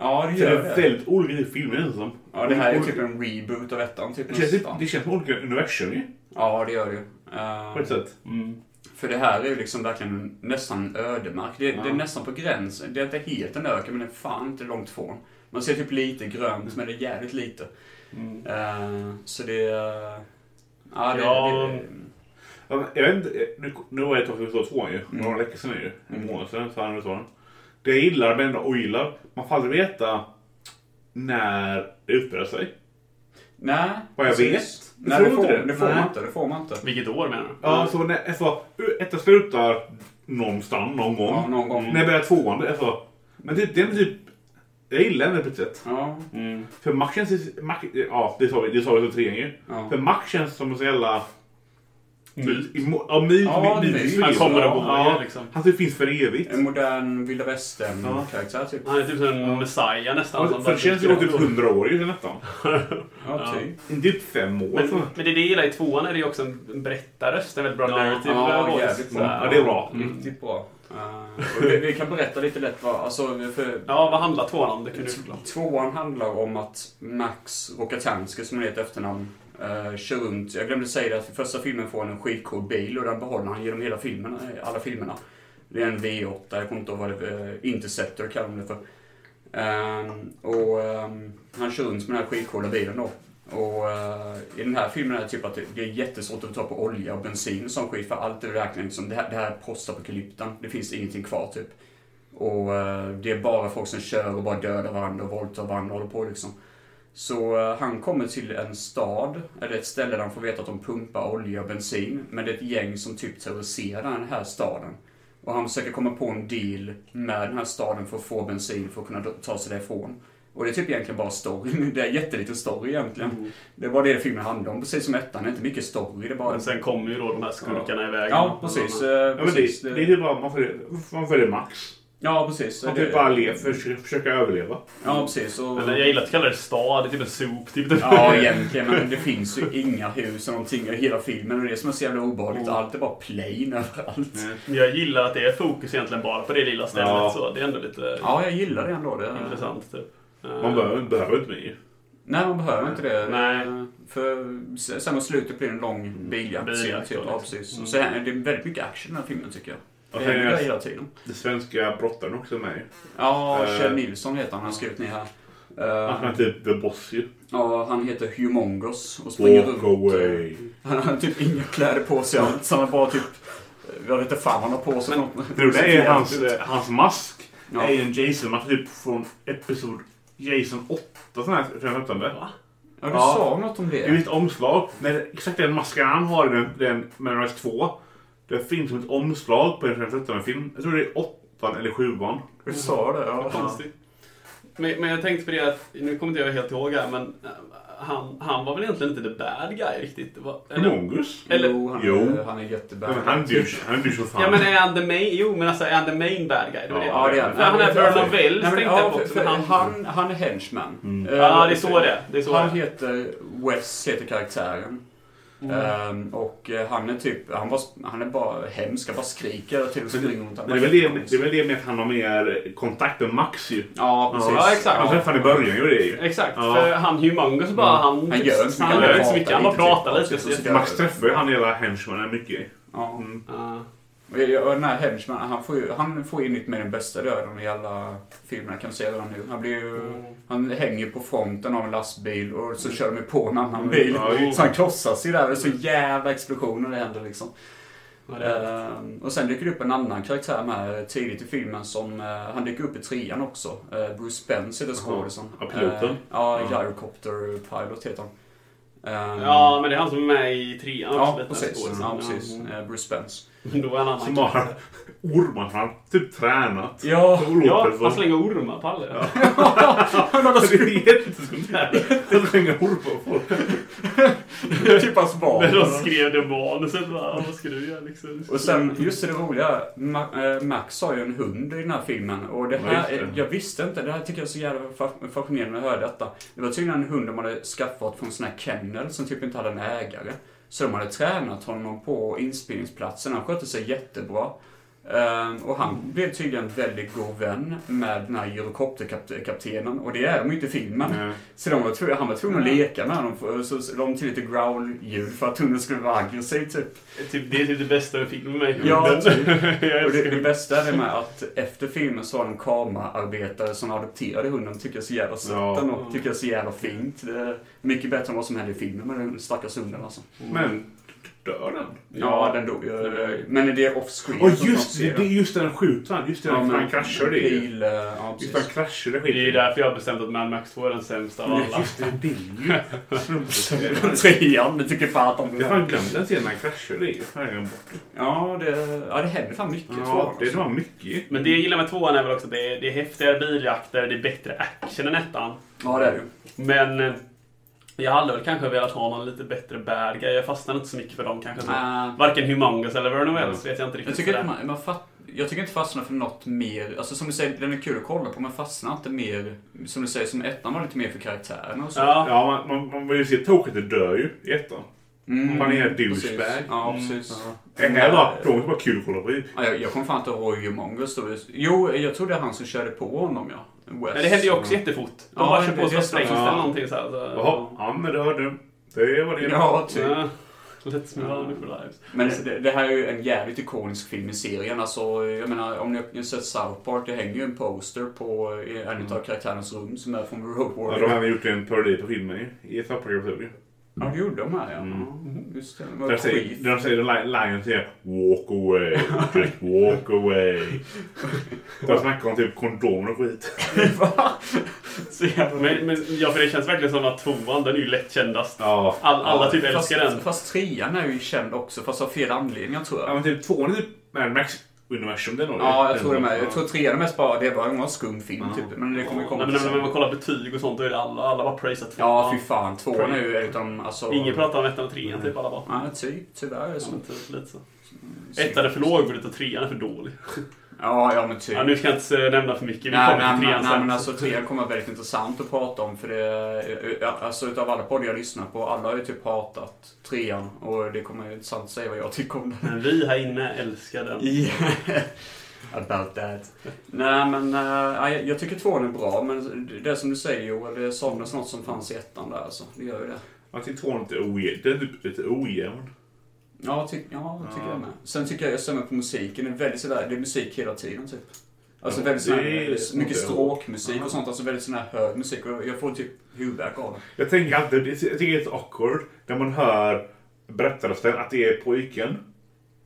Speaker 1: Ja, det
Speaker 2: Det
Speaker 1: gör
Speaker 2: är
Speaker 1: det.
Speaker 2: väldigt olika filmer känns det som.
Speaker 1: Ja, det här är typ en reboot av ettan typ
Speaker 2: Det känns, typ,
Speaker 1: nästan.
Speaker 2: det känns som olika universum ju.
Speaker 1: Ja, det gör det ju. Eh,
Speaker 2: På ett sätt.
Speaker 3: Mm.
Speaker 1: För det här är ju liksom verkligen nästan ödemark. Det, det är nästan på gränsen. Det är inte helt en öken, men det är fan inte långt från. Man ser typ lite
Speaker 2: Mm.
Speaker 1: grönt, men det är jävligt lite. Eh, så det... är- ja, det,
Speaker 3: Ja.
Speaker 1: det,
Speaker 2: mm. Ja, Jag vet inte, eh, nu, nu var jag Tokyo Story 2 ju.
Speaker 1: Mm.
Speaker 2: Några veckor sedan ju. En månad sedan så han den. Det jag gillar, men ändå ogillar. Man får aldrig veta när det utspelar sig.
Speaker 1: Nej.
Speaker 2: Vad jag
Speaker 1: precis.
Speaker 2: vet.
Speaker 1: Nej,
Speaker 2: Tror
Speaker 1: det får,
Speaker 2: inte
Speaker 1: det.
Speaker 2: det.
Speaker 1: får man
Speaker 2: Nej.
Speaker 1: inte. Det får man inte.
Speaker 3: Vilket år menar du?
Speaker 2: Ja, så när, alltså, ettan slutar någonstans, någon gång.
Speaker 1: Ja, någon gång.
Speaker 2: När börjar tvåan? det är så. Men det, det är typ... Jag gillar henne på ett sätt.
Speaker 1: Ja.
Speaker 2: För Max känns... Max, ja, det sa vi, det sa vi för trean ju.
Speaker 1: Ja.
Speaker 2: För Max känns som en så jävla...
Speaker 3: Myt.
Speaker 2: Imo- Ja, myt.
Speaker 1: Ja,
Speaker 2: myt-
Speaker 1: myt.
Speaker 2: myt-
Speaker 1: Han kommer
Speaker 2: ja,
Speaker 3: och bor
Speaker 2: ja,
Speaker 3: igen, liksom.
Speaker 2: Han typ finns för evigt.
Speaker 1: En modern vilda västern-karaktär, typ.
Speaker 3: Han är typ som en Messiah nästan.
Speaker 2: Ja,
Speaker 3: som
Speaker 2: För
Speaker 3: bara
Speaker 2: det känns ju
Speaker 3: dyker
Speaker 2: som typ
Speaker 3: upp.
Speaker 2: hundra år ju nästan.
Speaker 1: Ja, typ.
Speaker 2: Inte typ fem år.
Speaker 3: Men,
Speaker 2: så.
Speaker 3: men det är det jag gillar i tvåan är det ju också en berättarröst. En väldigt bra
Speaker 2: Ja,
Speaker 3: narrative
Speaker 1: ja,
Speaker 3: voice.
Speaker 1: jävligt bra.
Speaker 3: Sådär.
Speaker 2: Ja, det är bra.
Speaker 1: Riktigt bra. Eh, och vi, vi kan berätta lite lätt vad... Alltså, för
Speaker 3: Ja, vad handlar tvåan om? Det kan du förklara.
Speaker 1: Tvåan handlar om att Max Rokatanski, som han heter i efternamn, uh, kör runt. Jag glömde säga det, att i första filmen får han en skitcool bil och den behåller han genom hela filmen, eh, alla filmerna. Det är en V8, jag kommer inte ihåg vad det eh, Interceptor kallar de det för. Ehm, och ehm, han kör runt med den här skitcoola bilen då. Och eh, i den här filmen är det typ att det, det är jättesvårt att ta på olja och bensin och sån skit för allt är verkligen liksom, det här, det här är postapokalypten. Det finns ingenting kvar typ. Och eh, det är bara folk som kör och bara dödar varandra och våldtar varandra och håller på liksom. Så eh, han kommer till en stad, eller ett ställe där han får veta att de pumpar olja och bensin. Men det är ett gäng som typ terroriserar den här staden. Och han försöker komma på en deal med den här staden för att få bensin för att kunna ta sig därifrån. Och det är typ egentligen bara story. <laughs> Det är jätteliten story egentligen.
Speaker 2: Mm.
Speaker 1: Det var det filmen handlade om. Precis som ettan, det är inte mycket story. Det är bara...
Speaker 3: Men sen kommer ju då de här skurkarna i vägen.
Speaker 1: Ja, precis. eh,
Speaker 2: Mm. Ja, men
Speaker 1: precis.
Speaker 2: det, det är typ bara man följer, man följer Max.
Speaker 1: Ja, precis.
Speaker 2: Man
Speaker 1: Det-
Speaker 2: typ bara lever, försöker, försöker överleva.
Speaker 1: Ja, precis. Och...
Speaker 3: Eller jag gillar att du kallar det stad. Det är typ en sop. Typ.
Speaker 1: Ja, egentligen. Men det finns ju inga hus och någonting i hela filmen. Och det som är så jävla obehagligt. Allt är bara plain överallt.
Speaker 3: Men <laughs> Jag gillar att det är fokus egentligen bara på det lilla stället.
Speaker 2: Ja.
Speaker 3: Så det är ändå lite
Speaker 1: Ja, jag gillar det ändå. Det...
Speaker 3: intressant. Typ.
Speaker 2: Man behöver, behöver inte mer ju.
Speaker 1: Nej, man behöver inte det.
Speaker 3: Nej.
Speaker 1: För s- sen mot slutet blir det en lång biljakt.
Speaker 3: Biljakt,
Speaker 1: typ.
Speaker 3: ja,
Speaker 1: ja,
Speaker 3: liksom.
Speaker 1: precis. Och så här, det är väldigt mycket action i den här filmen tycker jag.
Speaker 2: Och
Speaker 1: det
Speaker 2: sen
Speaker 1: händer
Speaker 2: är-
Speaker 1: hela tiden.
Speaker 2: Den svenska brottaren också är med ju.
Speaker 1: Ja,
Speaker 2: Eh.
Speaker 1: Kjell Nilsson heter han. Han har skrivit ner <laughs> här. Eh,
Speaker 2: Han är typ the boss ju.
Speaker 1: ja, han heter Humongous och springer
Speaker 2: Walk
Speaker 1: runt.
Speaker 2: away.
Speaker 1: <laughs> Han har typ inga kläder på sig alls. Han har bara typ... Jag vet inte fan vad han har på sig.
Speaker 2: Det roliga är hans, hans mask.
Speaker 1: Ja.
Speaker 2: är ju en Jason-mask typ från episod Jason 8. Sån här 15. Va?
Speaker 1: Ja, du
Speaker 2: Ja.
Speaker 1: sa något om det.
Speaker 2: Det är ett omslag. Men exakt den masken han har i den, den Memorize 2. Det finns som ett omslag på en 15 film. Jag tror det är 8 eller 7.
Speaker 1: Du sa det, ja.
Speaker 3: Konstigt. Men, men jag tänkte på det att, nu kommer inte jag helt ihåg här, men eh, han, han var väl egentligen inte the bad guy riktigt? Det var- eller-
Speaker 2: Mongus?
Speaker 3: Eller-
Speaker 1: jo, han,
Speaker 2: Jo.
Speaker 1: Är, han är jättebra.
Speaker 2: Ja, men Han är douche. Han är douche för fan.
Speaker 3: Ja men är han the main, jo men alltså är han the main bad guy? Det var det.
Speaker 1: Ja, det är
Speaker 3: För han är
Speaker 1: Nej,
Speaker 3: Earl of
Speaker 1: men-
Speaker 3: Wales
Speaker 1: nej, men,
Speaker 3: tänkte
Speaker 1: ja,
Speaker 3: jag på
Speaker 1: för-
Speaker 3: också.
Speaker 1: för
Speaker 3: men
Speaker 1: Han,
Speaker 3: Han,
Speaker 1: han är henchman. Eh,
Speaker 3: Ja, det är så det- det är Mm. så
Speaker 1: han
Speaker 3: det.
Speaker 1: heter Wes, heter karaktären. Ehm, och eh, han är typ, han, var, han är bara hemsk, han bara skriker till och
Speaker 2: Men
Speaker 1: springer runt.
Speaker 2: det, men det, är väl det, det är väl det med att han har mer kontakt med Max ju.
Speaker 1: Ja, precis.
Speaker 3: Ja, exakt.
Speaker 2: Han träffade i början ju det ju.
Speaker 3: exakt,
Speaker 2: Ja.
Speaker 3: för han Humongous bara, han,
Speaker 1: Mm. Han gör inte så mycket,
Speaker 3: han
Speaker 1: han
Speaker 3: gör inte så
Speaker 1: pratar
Speaker 3: mycket. Han bara
Speaker 1: inte
Speaker 3: pratar
Speaker 1: typ.
Speaker 3: lite. Så,
Speaker 1: Och så-
Speaker 3: så,
Speaker 2: Max träffar ju han hela henchmannen mycket.
Speaker 1: Ja.
Speaker 3: ja.
Speaker 1: Och jag- och den här henchman, han får ju, han får ju nytt med den bästa döden i alla filmerna kan vi se redan nu. Han blir ju, han hänger på fronten av en lastbil och så kör de ju på en annan bil.
Speaker 2: Ja, ju.
Speaker 1: Så han krossas ju där och det är så jävla explosioner det händer liksom.
Speaker 3: Ja, det är det.
Speaker 1: Ehm, och sen dyker det upp en annan karaktär med tidigt i filmen som, eh, han dyker upp i trean också. Eh, Bruce Spence heter skådisen.
Speaker 2: Ja, piloten.
Speaker 1: Eh, ja,
Speaker 2: Ja.
Speaker 1: Gyrocopter Pilot heter han. Ehm,
Speaker 3: ja men det är han som är med i trean
Speaker 1: ja,
Speaker 3: lite,
Speaker 1: precis.
Speaker 3: skådisen.
Speaker 1: Ja, precis. Eh, Bruce Spence.
Speaker 3: mm. Men Då var han annan.
Speaker 2: Som har ormar. Han har typ tränat.
Speaker 1: <laughs> Ja,
Speaker 2: Så låter
Speaker 3: Ja,
Speaker 2: det
Speaker 3: han
Speaker 2: som.
Speaker 3: slänger ormar på alla. <laughs>
Speaker 2: Det är jätteskumt. Han slänger ormar på folk.
Speaker 1: typ hans
Speaker 3: Men
Speaker 1: barn.
Speaker 3: de skrev det manuset bara, vad ska du göra liksom?
Speaker 1: Och sen, just det roliga, Ma- eh, Max har ju en hund i den här filmen. Och det
Speaker 2: Ja,
Speaker 1: här,
Speaker 2: just det.
Speaker 1: eh, jag visste inte, det här tycker jag är så jävla fa- fascinerande när jag hörde detta. Det var tydligen en hund de hade skaffat från sån här kennel som typ inte hade en ägare. Så de hade tränat honom på inspelningsplatsen, han skötte sig jättebra. Ehm, och han
Speaker 2: Mm.
Speaker 1: blev tydligen väldigt god vän med den här helikopterkaptenen. Och det är de ju inte i filmen.
Speaker 2: Nej.
Speaker 1: Så de var tv- han var tvungen att leka med honom. För, så, så de till lite growl-ljud för att hunden skulle vara aggressiv typ.
Speaker 3: Typ, det är typ det bästa jag fick med mig.
Speaker 1: Ja, typ.
Speaker 3: <laughs> jag
Speaker 1: Och det, det
Speaker 3: älskar det.
Speaker 1: bästa är det med att efter filmen så har de kameraarbetare som adopterade hunden tycker jag är så jävla sött
Speaker 2: Ja.
Speaker 1: och tycker jag är så jävla fint. Det är mycket bättre än vad som hände i filmen med den stackars hunden alltså.
Speaker 2: Men dör den?
Speaker 1: Ja, den dog ju. Men det är off-screen.
Speaker 2: Åh
Speaker 1: som
Speaker 2: just
Speaker 1: de
Speaker 2: det!
Speaker 1: ser.
Speaker 2: Det är just den skjutan. Just det,
Speaker 1: Ja,
Speaker 2: för
Speaker 1: men-
Speaker 2: han kraschar det ju.
Speaker 1: Pil, eh, ja,
Speaker 2: Just det, han
Speaker 1: precis.
Speaker 2: kraschar det
Speaker 3: Det är ju
Speaker 2: skiten.
Speaker 3: därför jag har bestämt att Mad Max 2 är den sämsta av alla.
Speaker 2: Just det, det är
Speaker 1: <laughs>
Speaker 2: ju... Snubbigt.
Speaker 1: Trean, vi tycker fan att de
Speaker 2: Jag har fan glömt den scenen när han kraschar det ju. Fan, jag har glömt bort.
Speaker 1: Ja, det, ja, det händer fan mycket.
Speaker 2: Ja,
Speaker 1: tror jag.
Speaker 2: det var mycket.
Speaker 3: Men det jag gillar med tvåan är väl också att det är, det är häftigare biljakter, det är bättre action än ettan.
Speaker 1: ja, det är det ju.
Speaker 3: Men eh, jag hade väl kanske velat ha någon lite bättre bad guy. Jag fastnade inte så mycket för dem kanske.
Speaker 1: Äh,
Speaker 3: Varken Humongous eller Vernon Wells vet jag inte riktigt.
Speaker 1: Jag tycker, inte
Speaker 3: sådär.
Speaker 1: man, man fatt, jag tycker inte fastna för något mer. Alltså som du säger, den är kul att kolla på men fastna inte mer. Som du säger, som ettan var lite mer för karaktärerna och så.
Speaker 3: Ja.
Speaker 2: Ja, man, man, man vill ju se Tokete dör ju i ettan.
Speaker 1: Mm,
Speaker 2: Han är en
Speaker 1: precis.
Speaker 2: douchebag.
Speaker 1: Ja,
Speaker 3: Mm.
Speaker 1: precis.
Speaker 2: Det här var tråkigt, bara kul att kolla på. ju.
Speaker 1: Ja, jag, jag kommer fan inte ihåg hur många stod Jo, jag tror det är han som körde på honom ja. West.
Speaker 3: Men det hände ju också jättefort. De
Speaker 1: Ja,
Speaker 3: bara kör
Speaker 1: det-
Speaker 3: på så
Speaker 1: det-
Speaker 3: sprängs
Speaker 1: ja.
Speaker 3: eller någonting såhär. Så.
Speaker 2: Jaha, ja men dör du. Det var det.
Speaker 1: Ja, typ.
Speaker 3: Ja. Let's move on for lives.
Speaker 1: Men det, det här är ju en jävligt ikonisk film i serien. Alltså, jag menar, om ni har sett South Park, det hänger ju en poster på eh, en
Speaker 3: Mm.
Speaker 1: av karaktärernas rum som är från Road
Speaker 2: Ja,
Speaker 1: Warrior.
Speaker 2: de hade gjort en parodi på filmen ju. I Zappagrabstugan.
Speaker 1: Ja, det gjorde de här ja.
Speaker 3: Mm.
Speaker 1: Ja, Just det. De var
Speaker 2: Där säger,
Speaker 1: skit.
Speaker 2: där säger li- Lion säger Walk away, just walk <laughs> away. Där snackar de typ kondomer och skit.
Speaker 3: Så jävla- Men, men ja, för det känns verkligen som att tvåan, den är ju lätt kändast.
Speaker 2: Ja.
Speaker 3: All, alla typ
Speaker 1: Fast,
Speaker 3: älskar den.
Speaker 1: fast trean är ju känd också, fast av fel anledningar tror
Speaker 2: ja
Speaker 1: jag.
Speaker 2: men typ tvåan är typ Mad Max universum den har ju.
Speaker 1: Ja, jag tror det
Speaker 2: Den-
Speaker 1: med. Jag tror trean är mest bara, det var en skum film typ. Men det kommer ju komma
Speaker 3: Nej, men när man
Speaker 1: sen.
Speaker 3: kollar betyg och sånt, då är det alla, alla bara praisar tvåan.
Speaker 1: Ja, fy fan. Tvåan är ju utan, alltså...
Speaker 3: Ingen pratar om ettan och trean, typ alla bara.
Speaker 2: Mm.
Speaker 1: Nej, typ. Tyvärr är det så.
Speaker 3: Men typ lite så. Ettan är för lågbudet och trean är för dålig.
Speaker 1: Ja, ja men typ.
Speaker 3: Ja, nu ska jag inte eh, nämna för mycket. Vi
Speaker 1: Nej,
Speaker 3: kommer
Speaker 1: nej,
Speaker 3: till
Speaker 1: men,
Speaker 3: trean
Speaker 1: nej, men
Speaker 3: sen.
Speaker 1: alltså trean kommer vara väldigt intressant att prata om för det, ja, alltså utav alla poddar jag lyssnar på, alla har ju typ hatat trean och det kommer ju intressant att säga vad jag tycker om den.
Speaker 3: Men vi här inne älskar den.
Speaker 1: Yeah. <laughs> About that. Nej men, eh, nej, jag tycker tvåan är bra men det är som du säger Joel, det saknas något som fanns i ettan där alltså. Det gör ju det.
Speaker 2: Jag tycker typ tvåan är lite ojämn. Den är typ lite ojämn.
Speaker 1: Ja, ty- ja det tycker jag med. Sen tycker jag jag stämmer på musiken, det är väldigt sådär, det är musik hela tiden typ. Alltså
Speaker 2: Ja,
Speaker 1: väldigt
Speaker 2: det
Speaker 1: sån
Speaker 2: är-
Speaker 1: här, mycket
Speaker 2: det är-
Speaker 1: stråkmusik och sånt, alltså väldigt sån här hög musik och jag får typ huvudvärk av det.
Speaker 2: Jag tänker alltid, jag tycker det är lite awkward när man hör berättarrösten att det är pojken.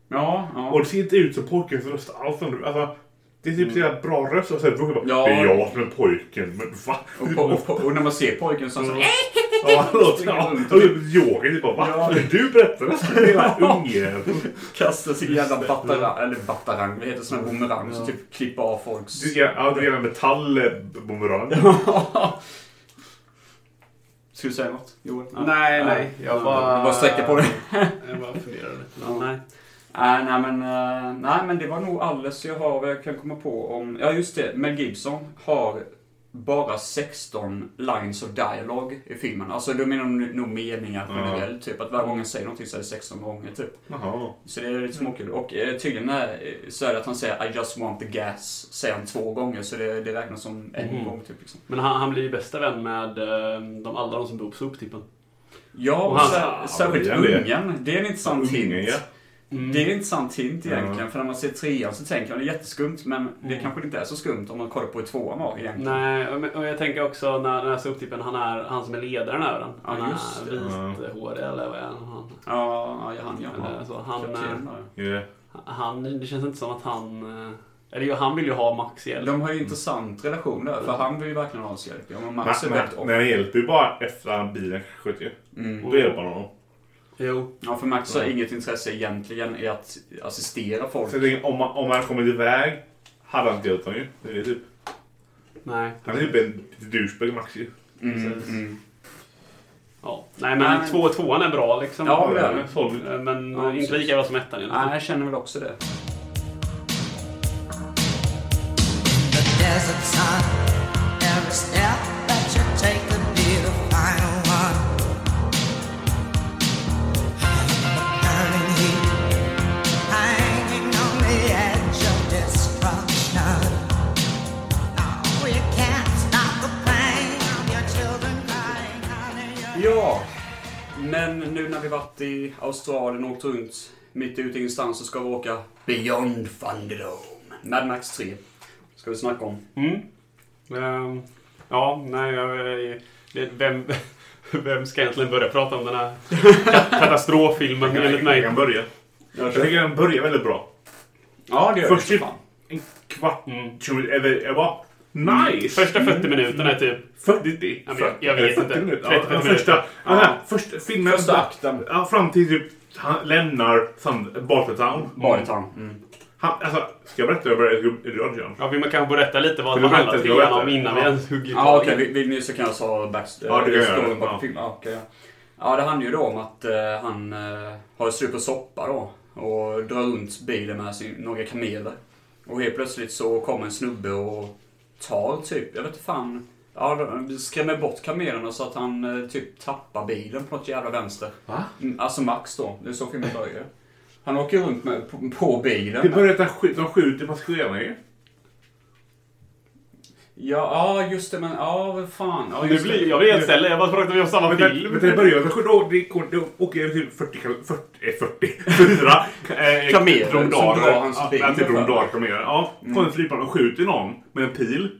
Speaker 1: Ja, ja.
Speaker 2: Och det ser inte ut som pojkens röst alls. om du- Alltså, det är typ så jävla bra röst och sen brukar bara
Speaker 1: Ja.
Speaker 2: Det är jag som är pojken. Men va?
Speaker 1: Och, po- och, po- och när man ser pojken så är han så här, "Äh!"
Speaker 2: Ja, <laughs> han låter ja, och Joakim typ bara va?
Speaker 1: Ja.
Speaker 2: Du berättade att du var ungjävel.
Speaker 1: Kastar sin jävla batarang, eller batarang, vad heter det? Sån här bumerang som typ klipper av folks...
Speaker 2: Du är- Ja, du är en metallbumerang.
Speaker 3: <laughs>
Speaker 1: Ska du säga något Joel?
Speaker 3: Nej, nej. Jag bara...
Speaker 1: Bara sträcka på dig.
Speaker 3: <laughs> Jag bara funderade lite. Ja, nej.
Speaker 1: <laughs> Nej, nej, men, eh, nej, men det var nog alldeles jag har vad jag kan komma på om... Ja, just det. Mel Gibson har bara 16 lines of dialogue i filmen. Alltså, då menar de nog meningar
Speaker 2: Ja.
Speaker 1: generellt. Typ att varje gång han säger någonting så är det 16 gånger, typ.
Speaker 2: Jaha.
Speaker 1: Så det är lite småkul. Och eh, tydligen är, så är det att han säger I just want the gas, säger han två gånger. Så det, det räknas som en
Speaker 3: Mhm.
Speaker 1: gång, typ. Liksom.
Speaker 3: Men han, han blir ju bästa vän med eh, de, alla de som bor på soptippen.
Speaker 1: Ja,
Speaker 3: Och
Speaker 1: och
Speaker 3: han-
Speaker 1: sär, särskilt
Speaker 2: det är det.
Speaker 1: ungen. Det är en intressant
Speaker 2: Ungen,
Speaker 1: hint. Mm.
Speaker 2: ja.
Speaker 1: Det är en intressant hint egentligen.
Speaker 2: Ja.
Speaker 1: För när man ser trean så tänker man det är jätteskumt. Men det kanske inte är så skumt om man kollar på hur tvåan var egentligen.
Speaker 3: Nej, och men- och jag tänker också när, när soptippen, han är han som är ledaren över den. Han
Speaker 1: Ja, just
Speaker 3: är
Speaker 1: det.
Speaker 3: vithårig eller vad är han?
Speaker 1: Ja, ja, han ja.
Speaker 3: han eller, så. Han,
Speaker 1: Kapten
Speaker 3: eh,
Speaker 1: där.
Speaker 2: Ja.
Speaker 3: han, det känns inte som att han... eh, Eller jo, han vill ju ha Max hjälp.
Speaker 1: De har ju en intressant relation där. För han vill ju verkligen ha hans hjälp. Ja, men Mm. Max är
Speaker 2: Men-
Speaker 1: väldigt
Speaker 2: men-
Speaker 1: om.
Speaker 2: Men han hjälper ju bara efter att bilen sköt ju. Då hjälper han honom.
Speaker 3: Jo.
Speaker 1: Ja, för Max har inget intresse egentligen i att assistera folk.
Speaker 2: Så jag tänker, om, man, om han kommit iväg hade han inte hjälpt honom ju. Det är typ.
Speaker 3: Nej.
Speaker 2: Han är typ en douchebag Max ju.
Speaker 1: Mm, mm.
Speaker 3: Ja. Nej,
Speaker 1: Nej,
Speaker 3: men
Speaker 1: men-
Speaker 3: Två, tvåan är bra liksom.
Speaker 1: Ja, det är det.
Speaker 2: Sån-
Speaker 3: Eh, Men
Speaker 1: Ja,
Speaker 3: inte lika bra som ettan. egentligen.
Speaker 1: Nej, jag känner väl också det.
Speaker 4: The desert sun. Every step that you take could be the final one. Burning heat, hanging on the edge of destruction. No, you can't stop the pain of your children crying out in your
Speaker 1: Ja, men nu när vi varit i Australien och åkt runt mitt ute i ingenstans så ska vi åka Beyond Thunderdome. Mad Max 3. Ska vi snacka om.
Speaker 3: Mm. Ehm, ja, nej, jag, jag- det- vem, <laughs> vem ska egentligen börja prata om den här <laughs> ka- katastroffilmen enligt
Speaker 2: Jag
Speaker 3: mig?
Speaker 2: kan börja. Jag tycker den börjar väldigt bra.
Speaker 1: Ja, det gör
Speaker 2: Först
Speaker 1: vi.
Speaker 2: typ en kvart, 20 minuter. Jag bara nice!
Speaker 3: Första 40 minuterna är typ...
Speaker 2: 40?
Speaker 3: Ja, men jag- jag vet inte.
Speaker 2: minuter.
Speaker 3: 30
Speaker 2: Ja, den
Speaker 3: minuter.
Speaker 2: första, ja.
Speaker 1: Ja.
Speaker 2: första filmen.
Speaker 1: Första akten.
Speaker 2: Ja, fram till typ han lämnar Sand- Bartertown.
Speaker 1: Baritown. Mm.
Speaker 2: Han, alltså, ska jag berätta hur jag började? Hur jag började?
Speaker 3: Ja, vi kanske borde berätta lite vad
Speaker 2: Vill
Speaker 3: det
Speaker 2: du
Speaker 3: handlar
Speaker 2: berätta? Vill du
Speaker 3: trean om
Speaker 2: berätta?
Speaker 3: innan
Speaker 2: Ja.
Speaker 3: vi ens hugger
Speaker 1: Ja,
Speaker 3: tag i
Speaker 1: okej.
Speaker 3: den.
Speaker 1: Vill, vill ni så kan jag ta backst-
Speaker 2: Ja, det kan jag
Speaker 1: storyn
Speaker 2: göra.
Speaker 1: bakom
Speaker 2: Ja.
Speaker 1: filmen. Ja, okej, ja. ja, det handlar ju då om att eh, han eh, har slut på soppa då. Och drar runt bilen med sin, några kameler. Och helt plötsligt så kommer en snubbe och tar typ, jag vet inte fan. Ja, de skrämmer bort kamelerna så att han eh, typ tappar bilen på något jävla vänster. Va? Alltså Max då. Det är så filmen börjar. Han åker runt med, på, på bilen.
Speaker 2: Det börjar att han skj- de skjuter passagerarna ju.
Speaker 1: Ja, ja, just det. Men ja, vad fan. Ja,
Speaker 3: Nu
Speaker 1: just det.
Speaker 3: blir, jag blir helt ställd. Jag bara frågade om vi har samma
Speaker 2: Men det,
Speaker 3: film.
Speaker 2: men det börjar med att det går- det åker över till 40, kal- 40, eh, 40 fyra
Speaker 3: <laughs>
Speaker 2: eh,
Speaker 1: Kameler som
Speaker 2: rondader.
Speaker 1: drar hans
Speaker 2: Ja,
Speaker 1: bil.
Speaker 2: Ja, till rondader kameler. Ja,
Speaker 1: Mm.
Speaker 2: kommer ett flygplan och skjuter någon med en pil.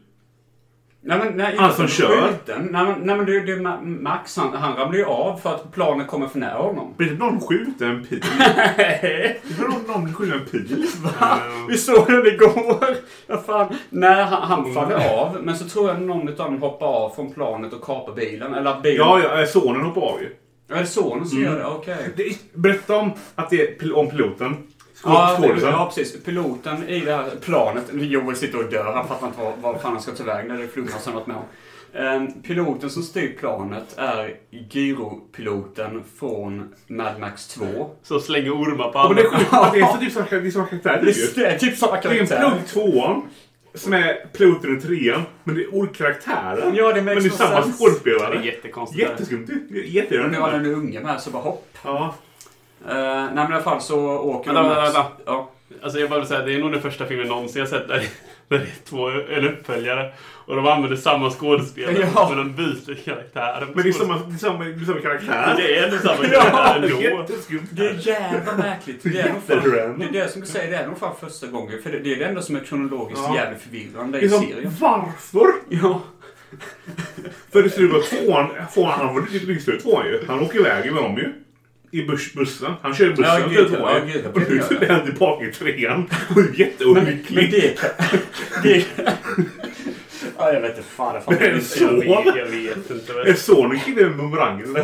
Speaker 1: Nej, men, nej,
Speaker 2: Han som
Speaker 1: inte
Speaker 2: kör.
Speaker 1: skylten. Nej, men, nej, men det, det, är Ma- Max han, han ramlar ju av för att planen kommer för nära honom.
Speaker 2: Blir det någon skjuter
Speaker 1: <laughs>
Speaker 2: en pil? Det är någon- någon skjuter en pil.
Speaker 1: Vi såg den igår. Ja, fan. Nej, han, han faller av. Men så tror jag någon av dem hoppar av från planet och kapar bilen. Eller att bilen...
Speaker 2: Ja, ja, eh, sonen hoppar av ju.
Speaker 1: Ja, det är sonen som gör det. Okej.
Speaker 2: Det, berätta om, att det är pil- om piloten.
Speaker 1: Ja,
Speaker 2: Skådisen.
Speaker 1: ja, precis. Piloten i det här planet. Joel sitter och dör. Han fattar inte vad, vad fan han ska ta vägen. Det är flumma som varit med om. Ehm, Piloten som styr planet är gyropiloten från Mad Max 2.
Speaker 3: Så slänger ormar på
Speaker 2: Ja, men det är
Speaker 3: alla.
Speaker 2: sjukt att det är så typ samma kar- det är samma karaktär. ju.
Speaker 1: Det är typ samma
Speaker 2: Det är en
Speaker 1: karaktär.
Speaker 2: pilot i tvåan som är piloten i trean. Men det är olika karaktärer.
Speaker 1: Ja, det makes
Speaker 2: men det är
Speaker 1: no
Speaker 2: samma
Speaker 1: sense.
Speaker 2: skådespelare.
Speaker 3: Det är jättekonstigt.
Speaker 2: Jätteskumt. Det är
Speaker 1: Men nu var den
Speaker 2: Jätteirriterande.
Speaker 1: unge med, så bara hopp.
Speaker 2: Ja.
Speaker 1: Eh, nej men i alla fall så åker
Speaker 3: Vänta,
Speaker 1: de-
Speaker 3: vänta, vänta.
Speaker 1: Ja.
Speaker 3: Alltså jag bara vill säga, det är nog den första filmen någonsin jag sett där, <laughs> där det är två, en uppföljare och de använder samma skådespelare
Speaker 1: Ja.
Speaker 3: men de byter karaktär.
Speaker 2: Men det är samma, det är samma, det är samma karaktär.
Speaker 3: Det är ändå samma
Speaker 2: Ja,
Speaker 3: karaktär
Speaker 2: det är
Speaker 3: ändå.
Speaker 2: <laughs> jätteskumt.
Speaker 1: Det är jävla märkligt. Det är, nog fan,
Speaker 2: Jätterandom.
Speaker 1: det är det som jag säger, det är nog fan första gången. För det, det är det enda som är kronologiskt
Speaker 2: Ja.
Speaker 1: jävligt förvirrande
Speaker 2: Det är
Speaker 1: i
Speaker 2: som,
Speaker 1: serien.
Speaker 2: varför?
Speaker 1: Ja.
Speaker 2: För i slutet av tvåan, tvåan, han var riktigt lycklig i tvåan ju. Han åker iväg med dem ju. I bus, bussen. Han kör i bussen
Speaker 1: Ja,
Speaker 2: till
Speaker 1: gud,
Speaker 2: tvåan.
Speaker 1: ja, gud, ja,
Speaker 2: och
Speaker 1: det
Speaker 2: nu
Speaker 1: gör
Speaker 2: så
Speaker 1: jag.
Speaker 2: är han tillbaka i trean. Och är
Speaker 1: Men, men
Speaker 2: jätteolycklig.
Speaker 1: det... det <laughs> ja,
Speaker 9: Ja, jag vet inte fan. Jag, fan,
Speaker 2: Det är en
Speaker 9: jag, vet,
Speaker 2: son.
Speaker 9: jag vet inte.
Speaker 2: Är Sonic i den bumerangen?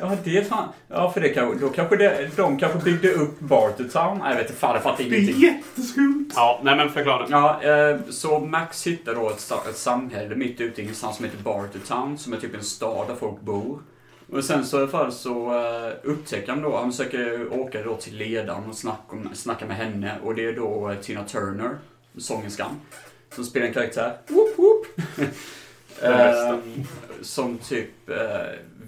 Speaker 1: Ja, det är fan. Ja, för det kan, då kanske det, de kanske byggde upp Bartertown. Nej, jag vet inte fan. Jag fattar
Speaker 2: Det är
Speaker 1: ingenting.
Speaker 2: jätteskumt!
Speaker 3: Ja, nej men förklara.
Speaker 1: Ja, eh, så Max hittar då ett, sta- ett samhälle mitt ute i ingenstans som heter Bartertown, som är typ en stad där folk bor. Och sen så i alla fall så eh, upptäcker han då, han försöker åka då till ledaren och snacka, om- snacka med henne. Och det är då eh, Tina Turner, sångerskan, som spelar en karaktär. Woop,
Speaker 3: <laughs>
Speaker 1: woop. eh, som typ eh,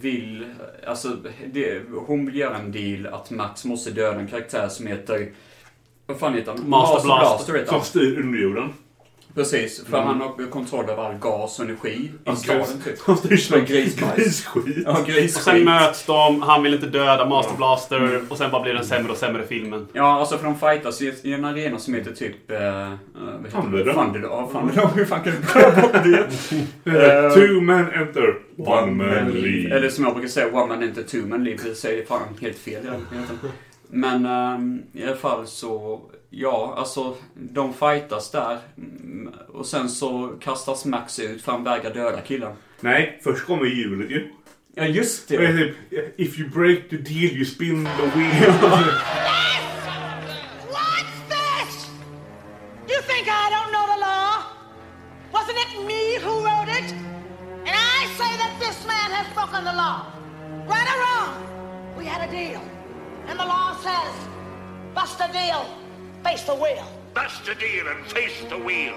Speaker 1: vill, alltså det, hon vill göra en deal att Max måste döda en karaktär som heter, vad fan heter han?
Speaker 3: Master Blaster.
Speaker 1: heter han.
Speaker 2: Som styr underjorden.
Speaker 1: Precis, för han har kontroll över all gas och energi i
Speaker 2: Han
Speaker 1: staden
Speaker 2: styr-
Speaker 1: typ.
Speaker 2: Han styr som en
Speaker 1: Grisbajs.
Speaker 2: grisskit.
Speaker 1: <laughs> Ja,
Speaker 3: Och sen
Speaker 1: grisskit.
Speaker 3: möts de, han vill inte döda Master Blaster och sen bara blir den sämre och sämre filmen.
Speaker 1: Ja, alltså för de fightas i i en arena som heter typ... Eh, eh, vad heter det?
Speaker 2: Thunderdome.
Speaker 1: Thunderdome. Ja, Thunderdome. Hur fan kan du glömma bort det?
Speaker 2: Eh, Two men enter, one,
Speaker 1: One
Speaker 2: man leave.
Speaker 1: Eller som jag brukar säga, one man inte two man leave. Det säger fan helt fel egentligen. Men ehm, i alla fall så, ja, alltså de fightas där. Mm, Och sen så kastas Max ut för han vägrar döda killen.
Speaker 2: Nej, först kommer hjulet ju.
Speaker 1: Ja, just
Speaker 2: Och det är
Speaker 1: det.
Speaker 2: typ, If you break the deal you spin the
Speaker 1: <laughs>
Speaker 2: wheel.
Speaker 4: What's this? You think I don't know the law? Wasn't it me who wrote it? And I say that this man has broken the law. Right or wrong, we had a deal. And the law says, bust a deal, face the wheel.
Speaker 10: Bust a deal and face the wheel.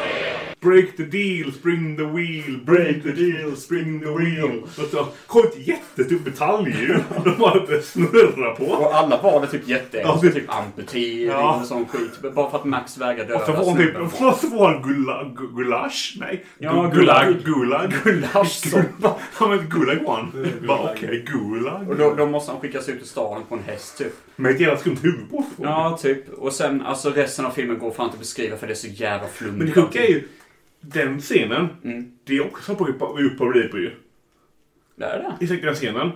Speaker 2: break the deal, spring the wheel. Break the deal, spring the wheel. Alltså, kom ett jättetyp detalj ju. <laughs> De bara inte snurra på.
Speaker 1: Och alla var det typ jätteengelska.
Speaker 2: Ja.
Speaker 1: Typ amputering
Speaker 2: Ja.
Speaker 1: och sån skit. Bara för att Max vägrar döda
Speaker 2: Så var hon typ,
Speaker 1: snubben.
Speaker 2: <laughs> vad så var hon gula, gu- gulasch? Nej.
Speaker 1: Ja,
Speaker 2: Gu-
Speaker 1: gulag.
Speaker 2: Gulag.
Speaker 1: Gulaschsoppa.
Speaker 2: Ja men <laughs> gulag var han. Bara okej,
Speaker 1: Och
Speaker 2: gulag.
Speaker 1: då, då måste han skickas ut ur staden på en häst typ.
Speaker 2: Med ett jävla skumt huvud på.
Speaker 1: Ja, typ. Och sen, alltså resten av filmen går fan inte att beskriva för det är så jävla flummigt.
Speaker 2: Men det sjuka är ju, den scenen, det är också på upp på på ju.
Speaker 1: Det är det?
Speaker 2: Exakt den scenen.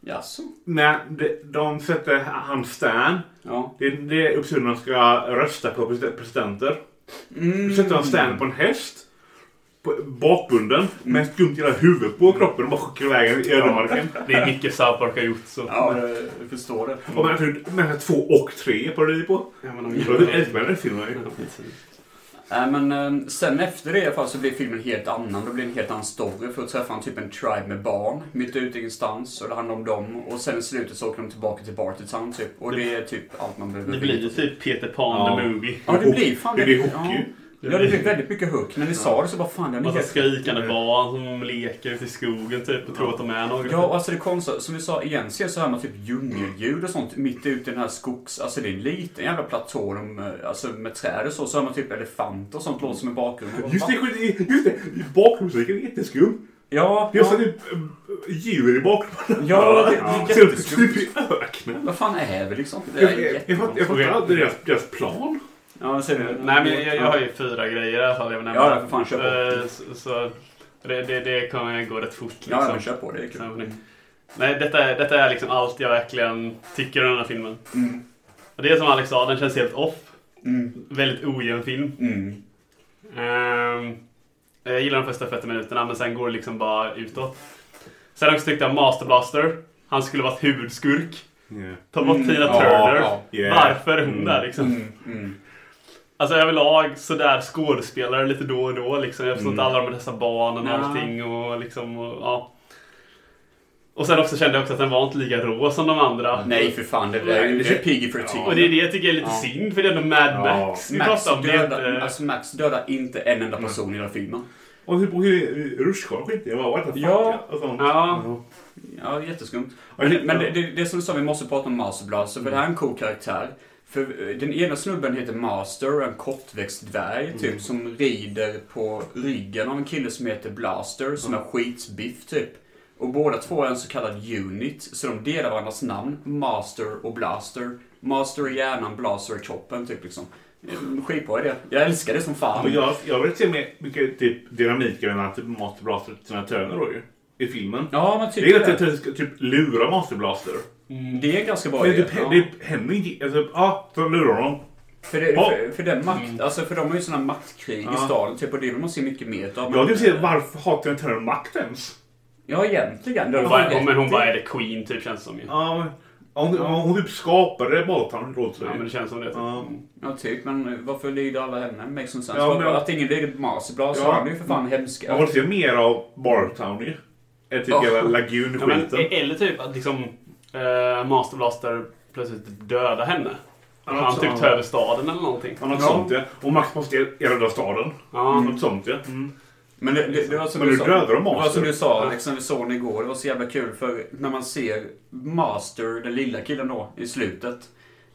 Speaker 1: Jaså?
Speaker 2: När de, de sätter han Stan.
Speaker 1: Ja.
Speaker 2: Det, det är uppsiden när de ska rösta på presid- presidenter. Då sätter han Stan på en häst. På, bakbunden. Med ett skumt jävla huvud på kroppen och bara skickar iväg den i ödemarken.
Speaker 3: Det är mycket Southpark har gjort så.
Speaker 1: Ja, jag jag förstår det.
Speaker 2: Och man tror mellan två och tre parodier på.
Speaker 3: Ja, men de
Speaker 2: Jag älskar den här filmen. ju.
Speaker 3: Ja, precis.
Speaker 1: Nej, men eh, sen efter det i alla fall så blir filmen helt annan. Då blir det en helt annan story. För att träffa en typ en tribe med barn mitt ute i ingenstans. Och det handlar om dem. Och sen i slutet så åker de tillbaka till Bartertown typ. Och det är typ allt man behöver
Speaker 3: Det
Speaker 1: veta.
Speaker 3: blir ju typ Peter Pan
Speaker 2: Ja.
Speaker 3: the movie.
Speaker 1: Ja, det blir fan
Speaker 2: Det blir hook
Speaker 1: ja.
Speaker 2: ju.
Speaker 1: Ja, det blir väldigt mycket hook. När ni sa det så bara fan, den är
Speaker 3: Massa
Speaker 1: helt...
Speaker 3: skrikande barn som leker ute i skogen typ och tror att de är några.
Speaker 1: Ja, och alltså det konstiga, som vi sa igen, ser så här med typ djungeldjur och sånt mitt ute i den här skogs... Alltså det är en liten jävla platå de, eh, alltså, med träd och så. Så hör man typ elefanter och sånt låter som i bakgrunden.
Speaker 2: Just det, skit- just det. Bakgrundsmusiken är jätteskum.
Speaker 1: Ja,
Speaker 2: Det är så
Speaker 1: ja,
Speaker 2: typ eh, djur i bakgrunden.
Speaker 1: Ja, det- det är
Speaker 2: Ser ut
Speaker 1: jätteskumt.
Speaker 2: Typ i öknen.
Speaker 1: vad fan är det liksom? Det
Speaker 2: Jag,
Speaker 1: är
Speaker 2: jag, jag,
Speaker 1: jätte...
Speaker 2: fatt- jag fattar aldrig deras, deras plan.
Speaker 1: Ja, ser du?
Speaker 3: Nej, men jag, jag har ju fyra grejer i alla fall. Jag vill nämna.
Speaker 1: Ja, för fan, kör på.
Speaker 3: Eh, Så, så det, det, det kommer gå rätt fort liksom.
Speaker 1: Ja, men kör på. Det är kul.
Speaker 3: Så- Nej, detta, är- detta är liksom allt jag verkligen tycker om den här filmen.
Speaker 1: Mm.
Speaker 3: Och det är som Alex sa, den känns helt off. Väldigt ojämn film.
Speaker 1: Mm.
Speaker 3: Ehm, jag gillar de första 40 minuterna, men sen går det liksom bara utåt. Sen också tyckte jag Master Blaster, han skulle varit huvudskurk.
Speaker 2: Yeah.
Speaker 3: Ta bort Tina
Speaker 1: Ja,
Speaker 3: Turner.
Speaker 1: ja.
Speaker 2: Yeah.
Speaker 3: Varför är hon där liksom?
Speaker 1: Mm, mm.
Speaker 3: Alltså överlag sådär skådespelare lite då och då liksom. Jag förstår inte
Speaker 1: Mm.
Speaker 3: alla de med dessa barnen och
Speaker 1: Nej.
Speaker 3: allting och liksom och, ja. Och sen också kände jag också att den var inte lika rå som de andra.
Speaker 1: Mm. Nej, för fan. Det är ju lite Piggy for a Teen.
Speaker 3: Och det är det jag tycker är lite
Speaker 1: Ja.
Speaker 3: synd för det är ändå Mad Max vi
Speaker 1: Max
Speaker 3: pratar om. Det eh, är
Speaker 1: dödar,
Speaker 3: inte...
Speaker 1: alltså Max dödar inte en enda person i den här filmen.
Speaker 2: Och typ rutschkana och skit. Jag bara what the fuck.
Speaker 1: Ja.
Speaker 2: Och sånt.
Speaker 3: Ja.
Speaker 1: Ja, jätteskumt.
Speaker 2: Ja, det-
Speaker 1: Men, men det, det, det är som du sa, vi måste prata om Master Blaster, för det här är en cool karaktär. För eh, den ena snubben heter Master, en kortväxt dvärg, typ, som rider på ryggen av en kille som heter Blaster, som är skitbiff, typ. Och båda två är en så kallad unit, så de delar varandras namn, Master och Blaster. Master i hjärnan, Blaster i kroppen, typ liksom. Eh, Skitbra idé. Jag älskar det som fan.
Speaker 2: Men jag, jag vill se mer mycket typ, dynamik mellan typ Master Blaster och Tina Turner då ju. I filmen.
Speaker 1: Ja, men
Speaker 2: Det är
Speaker 1: typ
Speaker 2: att jag
Speaker 1: det.
Speaker 2: typ ska typ lura Master Blaster.
Speaker 1: Det är en ganska bra
Speaker 2: Men
Speaker 1: idé.
Speaker 2: typ,
Speaker 1: ja.
Speaker 2: det händer inte. Alltså, ja, de lurar honom.
Speaker 1: För, det,
Speaker 2: Ja.
Speaker 1: för, för den makt, alltså för de har ju sådana maktkrig i
Speaker 2: Ja.
Speaker 1: staden typ och det vill man se mycket mer utav.
Speaker 2: Ja, det vill säga, typ varför hatar jag inte den makten ens?
Speaker 1: Ja, egentligen.
Speaker 3: Hon bara, men hon bara är the queen typ känns det som ju. Ja,
Speaker 2: Ja, hon, hon, hon typ skapade Baltan, låter det
Speaker 3: men det
Speaker 2: ju.
Speaker 3: känns som det. typ.
Speaker 2: Ja.
Speaker 1: Ja, typ. Men varför lyder alla henne? Makes some sense.
Speaker 2: Ja,
Speaker 1: Varför-
Speaker 2: men-
Speaker 1: Att ingen lyder Marsblad så
Speaker 2: Ja.
Speaker 1: han är ju för fan hemska.
Speaker 2: Man vill se mer av Bartown ju. Än typ
Speaker 1: Ja.
Speaker 2: hela
Speaker 3: Ja, men,
Speaker 2: Lagoon-skiten.
Speaker 3: eller typ att liksom eh, Master Blaster plötsligt dödar henne.
Speaker 2: Ja,
Speaker 3: han typ
Speaker 2: så-
Speaker 3: tar över staden eller någonting.
Speaker 2: Ja, något sånt ja. Och Max måste rädda staden.
Speaker 3: Ja.
Speaker 2: Något sånt ja.
Speaker 1: Men det, det, det var som
Speaker 2: Men
Speaker 1: du
Speaker 2: nu
Speaker 1: sa,
Speaker 2: dödar de
Speaker 1: Det var
Speaker 2: Master.
Speaker 1: som du sa, liksom, vi såg den igår. Det var så jävla kul för när man ser Master, den lilla killen då, i slutet.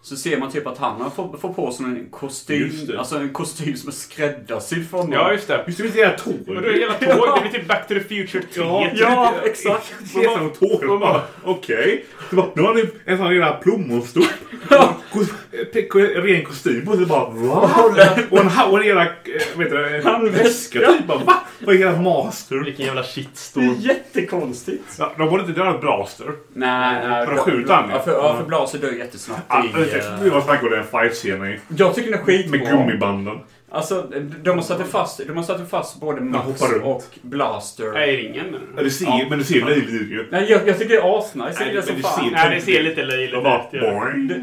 Speaker 1: Så ser man typ att han har fått få på sig en
Speaker 2: Just
Speaker 1: kostym.
Speaker 2: det.
Speaker 1: Alltså en kostym som är skräddarsydd för honom.
Speaker 3: Ja, just det.
Speaker 2: Just det, det är
Speaker 3: Och då är det
Speaker 2: tåg.
Speaker 3: jävla tåg. Det blir typ Back to the Future 3.
Speaker 2: Ja,
Speaker 1: Ja, exakt.
Speaker 2: Det är som tåg. Man bara, Okej. Så bara, Nu har ni en sån jävla plommonstop. Kos- pe- ko- eh, Ren kostym på sig. Bara va? Och en, ha- och en jävla eh, vet du, en
Speaker 1: Handväska.
Speaker 2: väska typ. Bara, va? Vad är hela master?
Speaker 3: Vilken jävla shitstorm.
Speaker 1: jättekonstigt.
Speaker 2: Ja, de borde inte döda Blaster.
Speaker 1: Nej, nej.
Speaker 2: För att skjuta han ju.
Speaker 1: Ja, för, ja, för Blaser dör jättesnabbt.
Speaker 2: Ah,
Speaker 1: i, eh,
Speaker 2: Mm. Det var snack om den fight-scenen ju.
Speaker 1: jag tycker den är skitbra.
Speaker 2: Med gummibanden.
Speaker 1: Alltså, de har satt fast, de har satt fast både Max
Speaker 2: hoppar runt.
Speaker 1: och Blaster.
Speaker 3: Nej, ringen menar
Speaker 2: Ja,
Speaker 3: du?
Speaker 2: Du ser, men du ser löjligt ut ju.
Speaker 1: Nej, jag, jag tycker det är asnice.
Speaker 2: Nej,
Speaker 1: Jag gillar
Speaker 2: men
Speaker 1: som
Speaker 2: det
Speaker 1: fan.
Speaker 2: ser-
Speaker 3: Nej, det ser lite löjligt
Speaker 2: De
Speaker 3: ut.
Speaker 2: bara
Speaker 3: ja.
Speaker 2: boing, boing.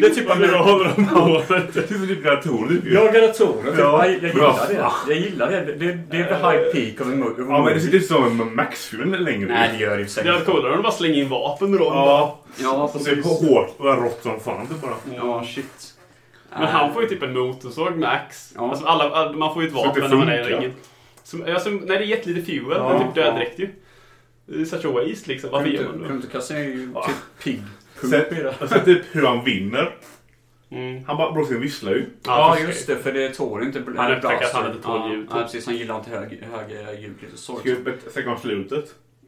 Speaker 1: Det är typ
Speaker 2: Vad bra
Speaker 1: en...
Speaker 2: de har. Det är typ gladiatorer ju.
Speaker 1: Jag gladiatorer.
Speaker 2: Ja.
Speaker 1: Ja, jag gillar det.
Speaker 2: Bra. Ah.
Speaker 1: Jag gillar det. Det, det, det är the high peak av en mo- of a
Speaker 2: Ja, men det
Speaker 1: movie.
Speaker 2: ser ut som en Max-film längre.
Speaker 1: Nej, det gör det i och för
Speaker 3: Det hade
Speaker 1: sig.
Speaker 3: varit coolare om de bara slänger in vapen i dem.
Speaker 2: Ja,
Speaker 1: Ja,
Speaker 2: och det är
Speaker 1: precis.
Speaker 2: hårt och rått som fan. Det är bara...
Speaker 1: Ja, shit.
Speaker 3: Men han får ju typ en motorsåg med ax.
Speaker 1: Ja.
Speaker 3: Alltså alla, all- man får ju ett
Speaker 2: Så det
Speaker 3: vapen när man är i
Speaker 2: funkar.
Speaker 3: ringen. Som, alltså, nej, det är jättelite fuel.
Speaker 2: Ja.
Speaker 3: men typ död direkt ju. Det är such a waste liksom. Varför gör man det?
Speaker 1: Kunde inte kasta ju
Speaker 2: Ja.
Speaker 1: typ pigg pump i
Speaker 2: Sen,
Speaker 1: det.
Speaker 2: och sen typ hur han vinner.
Speaker 3: Mm.
Speaker 2: Han bara blåser en vissla ju.
Speaker 1: Ja,
Speaker 3: för
Speaker 1: just det. För det tål inte bl-
Speaker 3: Han upptäcker att
Speaker 1: Blaster.
Speaker 3: han inte tål ljud.
Speaker 1: Ja, ja, precis. Han gillar inte hög- höga ljud. lite sorgligt.
Speaker 2: Sen kom slutet.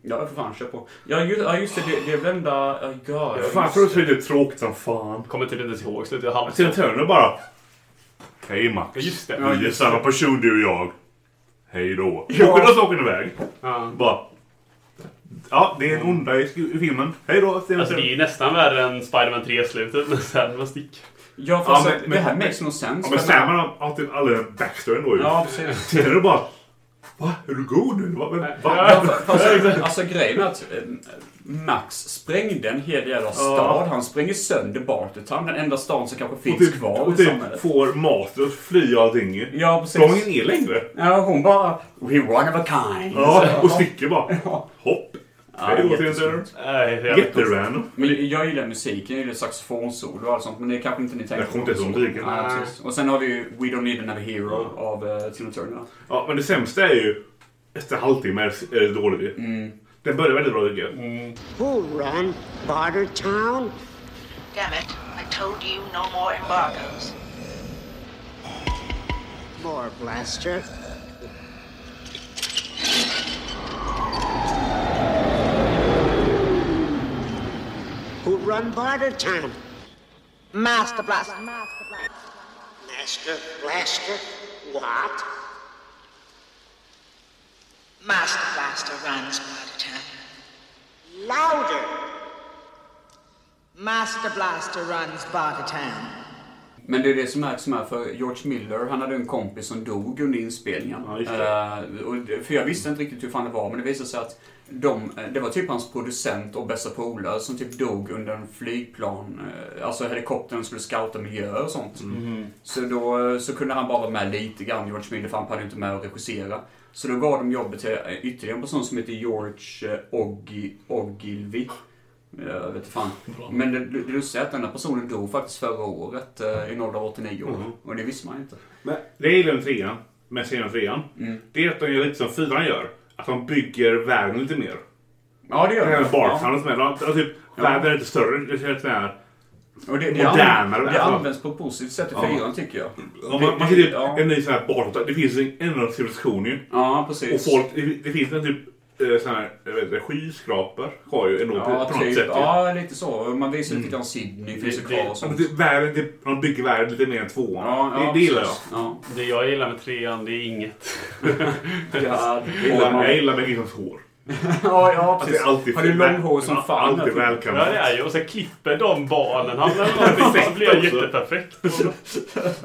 Speaker 1: Ja, för fan, kör på. Ja, just, ja, just det. Det, det är väl den där... Oh, God,
Speaker 2: Fan, jag tror det är tråkigt som fan.
Speaker 3: Kommer typ inte ens ihåg slutet. Jag halvt.
Speaker 2: Sen Turner bara... Hej
Speaker 3: Ja,
Speaker 2: Max.
Speaker 3: just det.
Speaker 2: Vi är samma person du och jag. Hej då. Ja. Och då åker han iväg.
Speaker 3: Ja.
Speaker 2: Bara... Ja, det är en onda i sk- i filmen. Hej då. Sen,
Speaker 3: Alltså det är ju nästan värre än Spider-Man 3-slutet. Men sen, vad stick.
Speaker 1: Ja,
Speaker 2: Ja,
Speaker 1: fast
Speaker 2: men-
Speaker 1: att- det
Speaker 2: men-
Speaker 1: här makes no sense.
Speaker 2: Ja,
Speaker 1: För-
Speaker 2: men Sandman har- har typ alla backstoryn då ju.
Speaker 1: Ja, precis.
Speaker 2: Turner bara... Va? Är du god nu? Va? Va?
Speaker 1: Ja, fa-
Speaker 2: <laughs>
Speaker 1: fast, alltså grejen är att eh, Max sprängde en hel jävla stad. Han spränger sönder Bartertown, den enda stan som kanske
Speaker 2: Och
Speaker 1: finns
Speaker 2: typ,
Speaker 1: kvar
Speaker 2: och
Speaker 1: i
Speaker 2: typ
Speaker 1: samhället.
Speaker 2: får master att fly och allting ju.
Speaker 1: Ja,
Speaker 2: De har
Speaker 1: precis.
Speaker 2: ingen el längre.
Speaker 1: Ja, hon bara... We one of a kind.
Speaker 2: Ja, och sticker bara.
Speaker 1: Ja.
Speaker 2: Hopp.
Speaker 1: Ja,
Speaker 2: Hej då,
Speaker 1: jättesnyggt.
Speaker 2: Tinder.
Speaker 3: Nej, det är jävligt konstigt.
Speaker 2: Jätterandom.
Speaker 1: Men jag gillar musiken, jag gillar saxofonsolo och allt sånt. Men det kanske inte ni tänker
Speaker 2: Jag kommer inte ens ihåg musiken.
Speaker 1: Nej, precis. Och sen har vi ju We Don't Need Another Hero av uh, Tina Turner.
Speaker 2: Ja, men det sämsta är ju efter halvtimme är det dåligt ju.
Speaker 1: Mm.
Speaker 2: Den börjar väldigt bra tycker jag.
Speaker 4: Who ran Barter Town?
Speaker 9: Damn it. I told you no more embargoes.
Speaker 4: More blaster. Who run Barter Town?
Speaker 9: Master Blaster.
Speaker 4: Master Blaster? What?
Speaker 9: Master Blaster runs Bartertown.
Speaker 4: Louder!
Speaker 9: Master Blaster runs Bartertown.
Speaker 1: Men det är det som märks med för George Miller, han hade en kompis som dog under inspelningen.
Speaker 2: Ja, just
Speaker 1: Eh, och det- för jag visste inte riktigt hur fan det var, men det visade sig att de, eh, det var typ hans producent och bästa polare som typ dog under en flygplan, eh, alltså helikoptern skulle scouta miljöer och sånt.
Speaker 2: Mm.
Speaker 1: Så då eh, så kunde han bara vara med lite grann, George Miller, för han hade inte med att regissera. Så då gav de jobbet till eh, ytterligare en person som heter George eh, Oggi, Ogilvy. Eh, Jag vet inte fan. Men det det lustiga är att den här personen dog faktiskt förra året eh, i en ålder av 89 år. Och det visste man ju inte.
Speaker 2: Men det är den trean, med serien trean.
Speaker 1: Mm.
Speaker 2: Det är att de gör lite som fyran gör. Att de bygger världen lite mer.
Speaker 1: Ja, det gör
Speaker 2: Den här
Speaker 1: det.
Speaker 2: bartendern som är där. Alltså, typ, Världen är lite större. Det känns sån här...
Speaker 1: Och det, det,
Speaker 2: modernare,
Speaker 1: används, det
Speaker 2: alltså.
Speaker 1: används på ett positivt sätt i
Speaker 2: Ja.
Speaker 1: fyran tycker jag.
Speaker 2: Man,
Speaker 1: Det-
Speaker 2: man, man
Speaker 1: det-
Speaker 2: ser typ
Speaker 1: ja.
Speaker 2: en ny sån här bartender. Det finns en enorm civilisation ju.
Speaker 1: Ja,
Speaker 2: Och
Speaker 1: precis.
Speaker 2: folk, det, det finns en typ eh, sån här jag vet, inte, skyskrapor har ju enormt
Speaker 1: ja,
Speaker 2: på något
Speaker 1: typ,
Speaker 2: sätt. Ja.
Speaker 1: ja, lite så. Och Man visar lite grann Sydney finns ju
Speaker 3: Det-
Speaker 1: kvar
Speaker 3: det-
Speaker 1: och
Speaker 2: Men
Speaker 1: sånt.
Speaker 2: Alltså, det, världen, det, de bygger världen lite mer än tvåan.
Speaker 1: Ja, ja,
Speaker 2: det, det gillar jag.
Speaker 1: precis. Ja.
Speaker 3: Det jag gillar med trean, det är inget.
Speaker 1: Ja, det
Speaker 2: Och
Speaker 1: gillar man.
Speaker 2: jag gillar Bengt Nilssons hår.
Speaker 1: ja, ja,
Speaker 2: Att
Speaker 1: precis.
Speaker 2: det är alltid
Speaker 1: Har du
Speaker 2: väl-
Speaker 1: långhår som
Speaker 2: ja,
Speaker 1: fan?
Speaker 2: alltid välkommen.
Speaker 3: Ja, det är ju. Och sen klipper de barnen han eller någonting. <laughs> Så blir jag
Speaker 1: Perfekt också.
Speaker 3: jätteperfekt.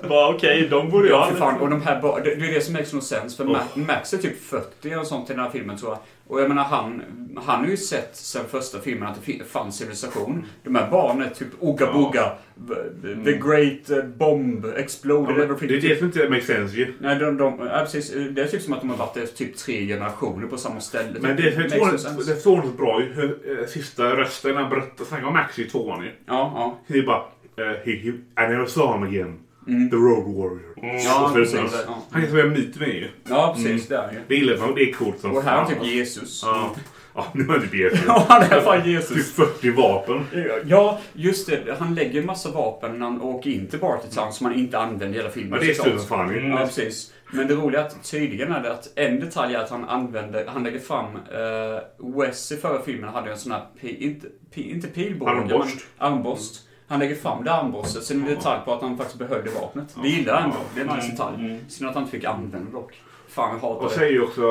Speaker 3: Bara okej, de borde jag
Speaker 1: Ja, för fan. Och de här bar- det, det är det som makes no sense. För Ma- Max är typ 40 eller sånt i den här filmen tror jag. Och jag menar han, han har ju sett sen första filmen att det fi- fanns civilisation. De här barnen är typ Ooga Booga. The- The Great eh, Bomb Exploded
Speaker 2: Ja, men
Speaker 1: Everything.
Speaker 2: det är det som inte makes sense ju.
Speaker 1: Nej, de, de, ja, precis. Det är typ som att de har varit där typ tre generationer på samma ställe.
Speaker 2: Men det
Speaker 1: Typ,
Speaker 2: är
Speaker 1: makes no sense.
Speaker 2: tvåan- det är så oerhört bra ju. hur, eh, Sista rösten han berättar, snackar om Max i tvåan ju.
Speaker 1: Ja, ja.
Speaker 2: Det är bara... eh, he, he, I never saw him again. The Road Warrior.
Speaker 1: Mm. Ja,
Speaker 2: Och så är det
Speaker 1: precis,
Speaker 2: så.
Speaker 1: ja.
Speaker 2: Han kan säga myt med ju.
Speaker 1: Ja, precis. Det är han ju.
Speaker 2: Det gillar man. Det är coolt som
Speaker 1: Och här är
Speaker 2: fan.
Speaker 1: typ Jesus.
Speaker 2: Ja. ja, nu är det typ Jesus.
Speaker 1: <laughs> Ja, han är fan Jesus.
Speaker 2: Typ 40 vapen.
Speaker 1: Ja, just det. Han lägger en massa vapen när han åker in till Bartertown som han inte använder i hela filmen.
Speaker 2: Ja, det är
Speaker 1: såklart.
Speaker 2: slut som fan ju.
Speaker 1: Ja, precis. Men det roliga är att tydligen är det att en detalj är att han använder, han lägger fram, eh, Wes i förra filmen hade ju en sån här, pi, inte, pi, inte pilbåge,
Speaker 2: Armborst.
Speaker 1: men armborst. Han lägger fram det armborstet, sen är det en detalj på att han faktiskt behövde vapnet. Det gillar jag ändå. Det är en nice detalj. Synd att han inte fick använda det dock. Fan, jag hatar
Speaker 2: Mm, Och
Speaker 1: det.
Speaker 2: säger ju också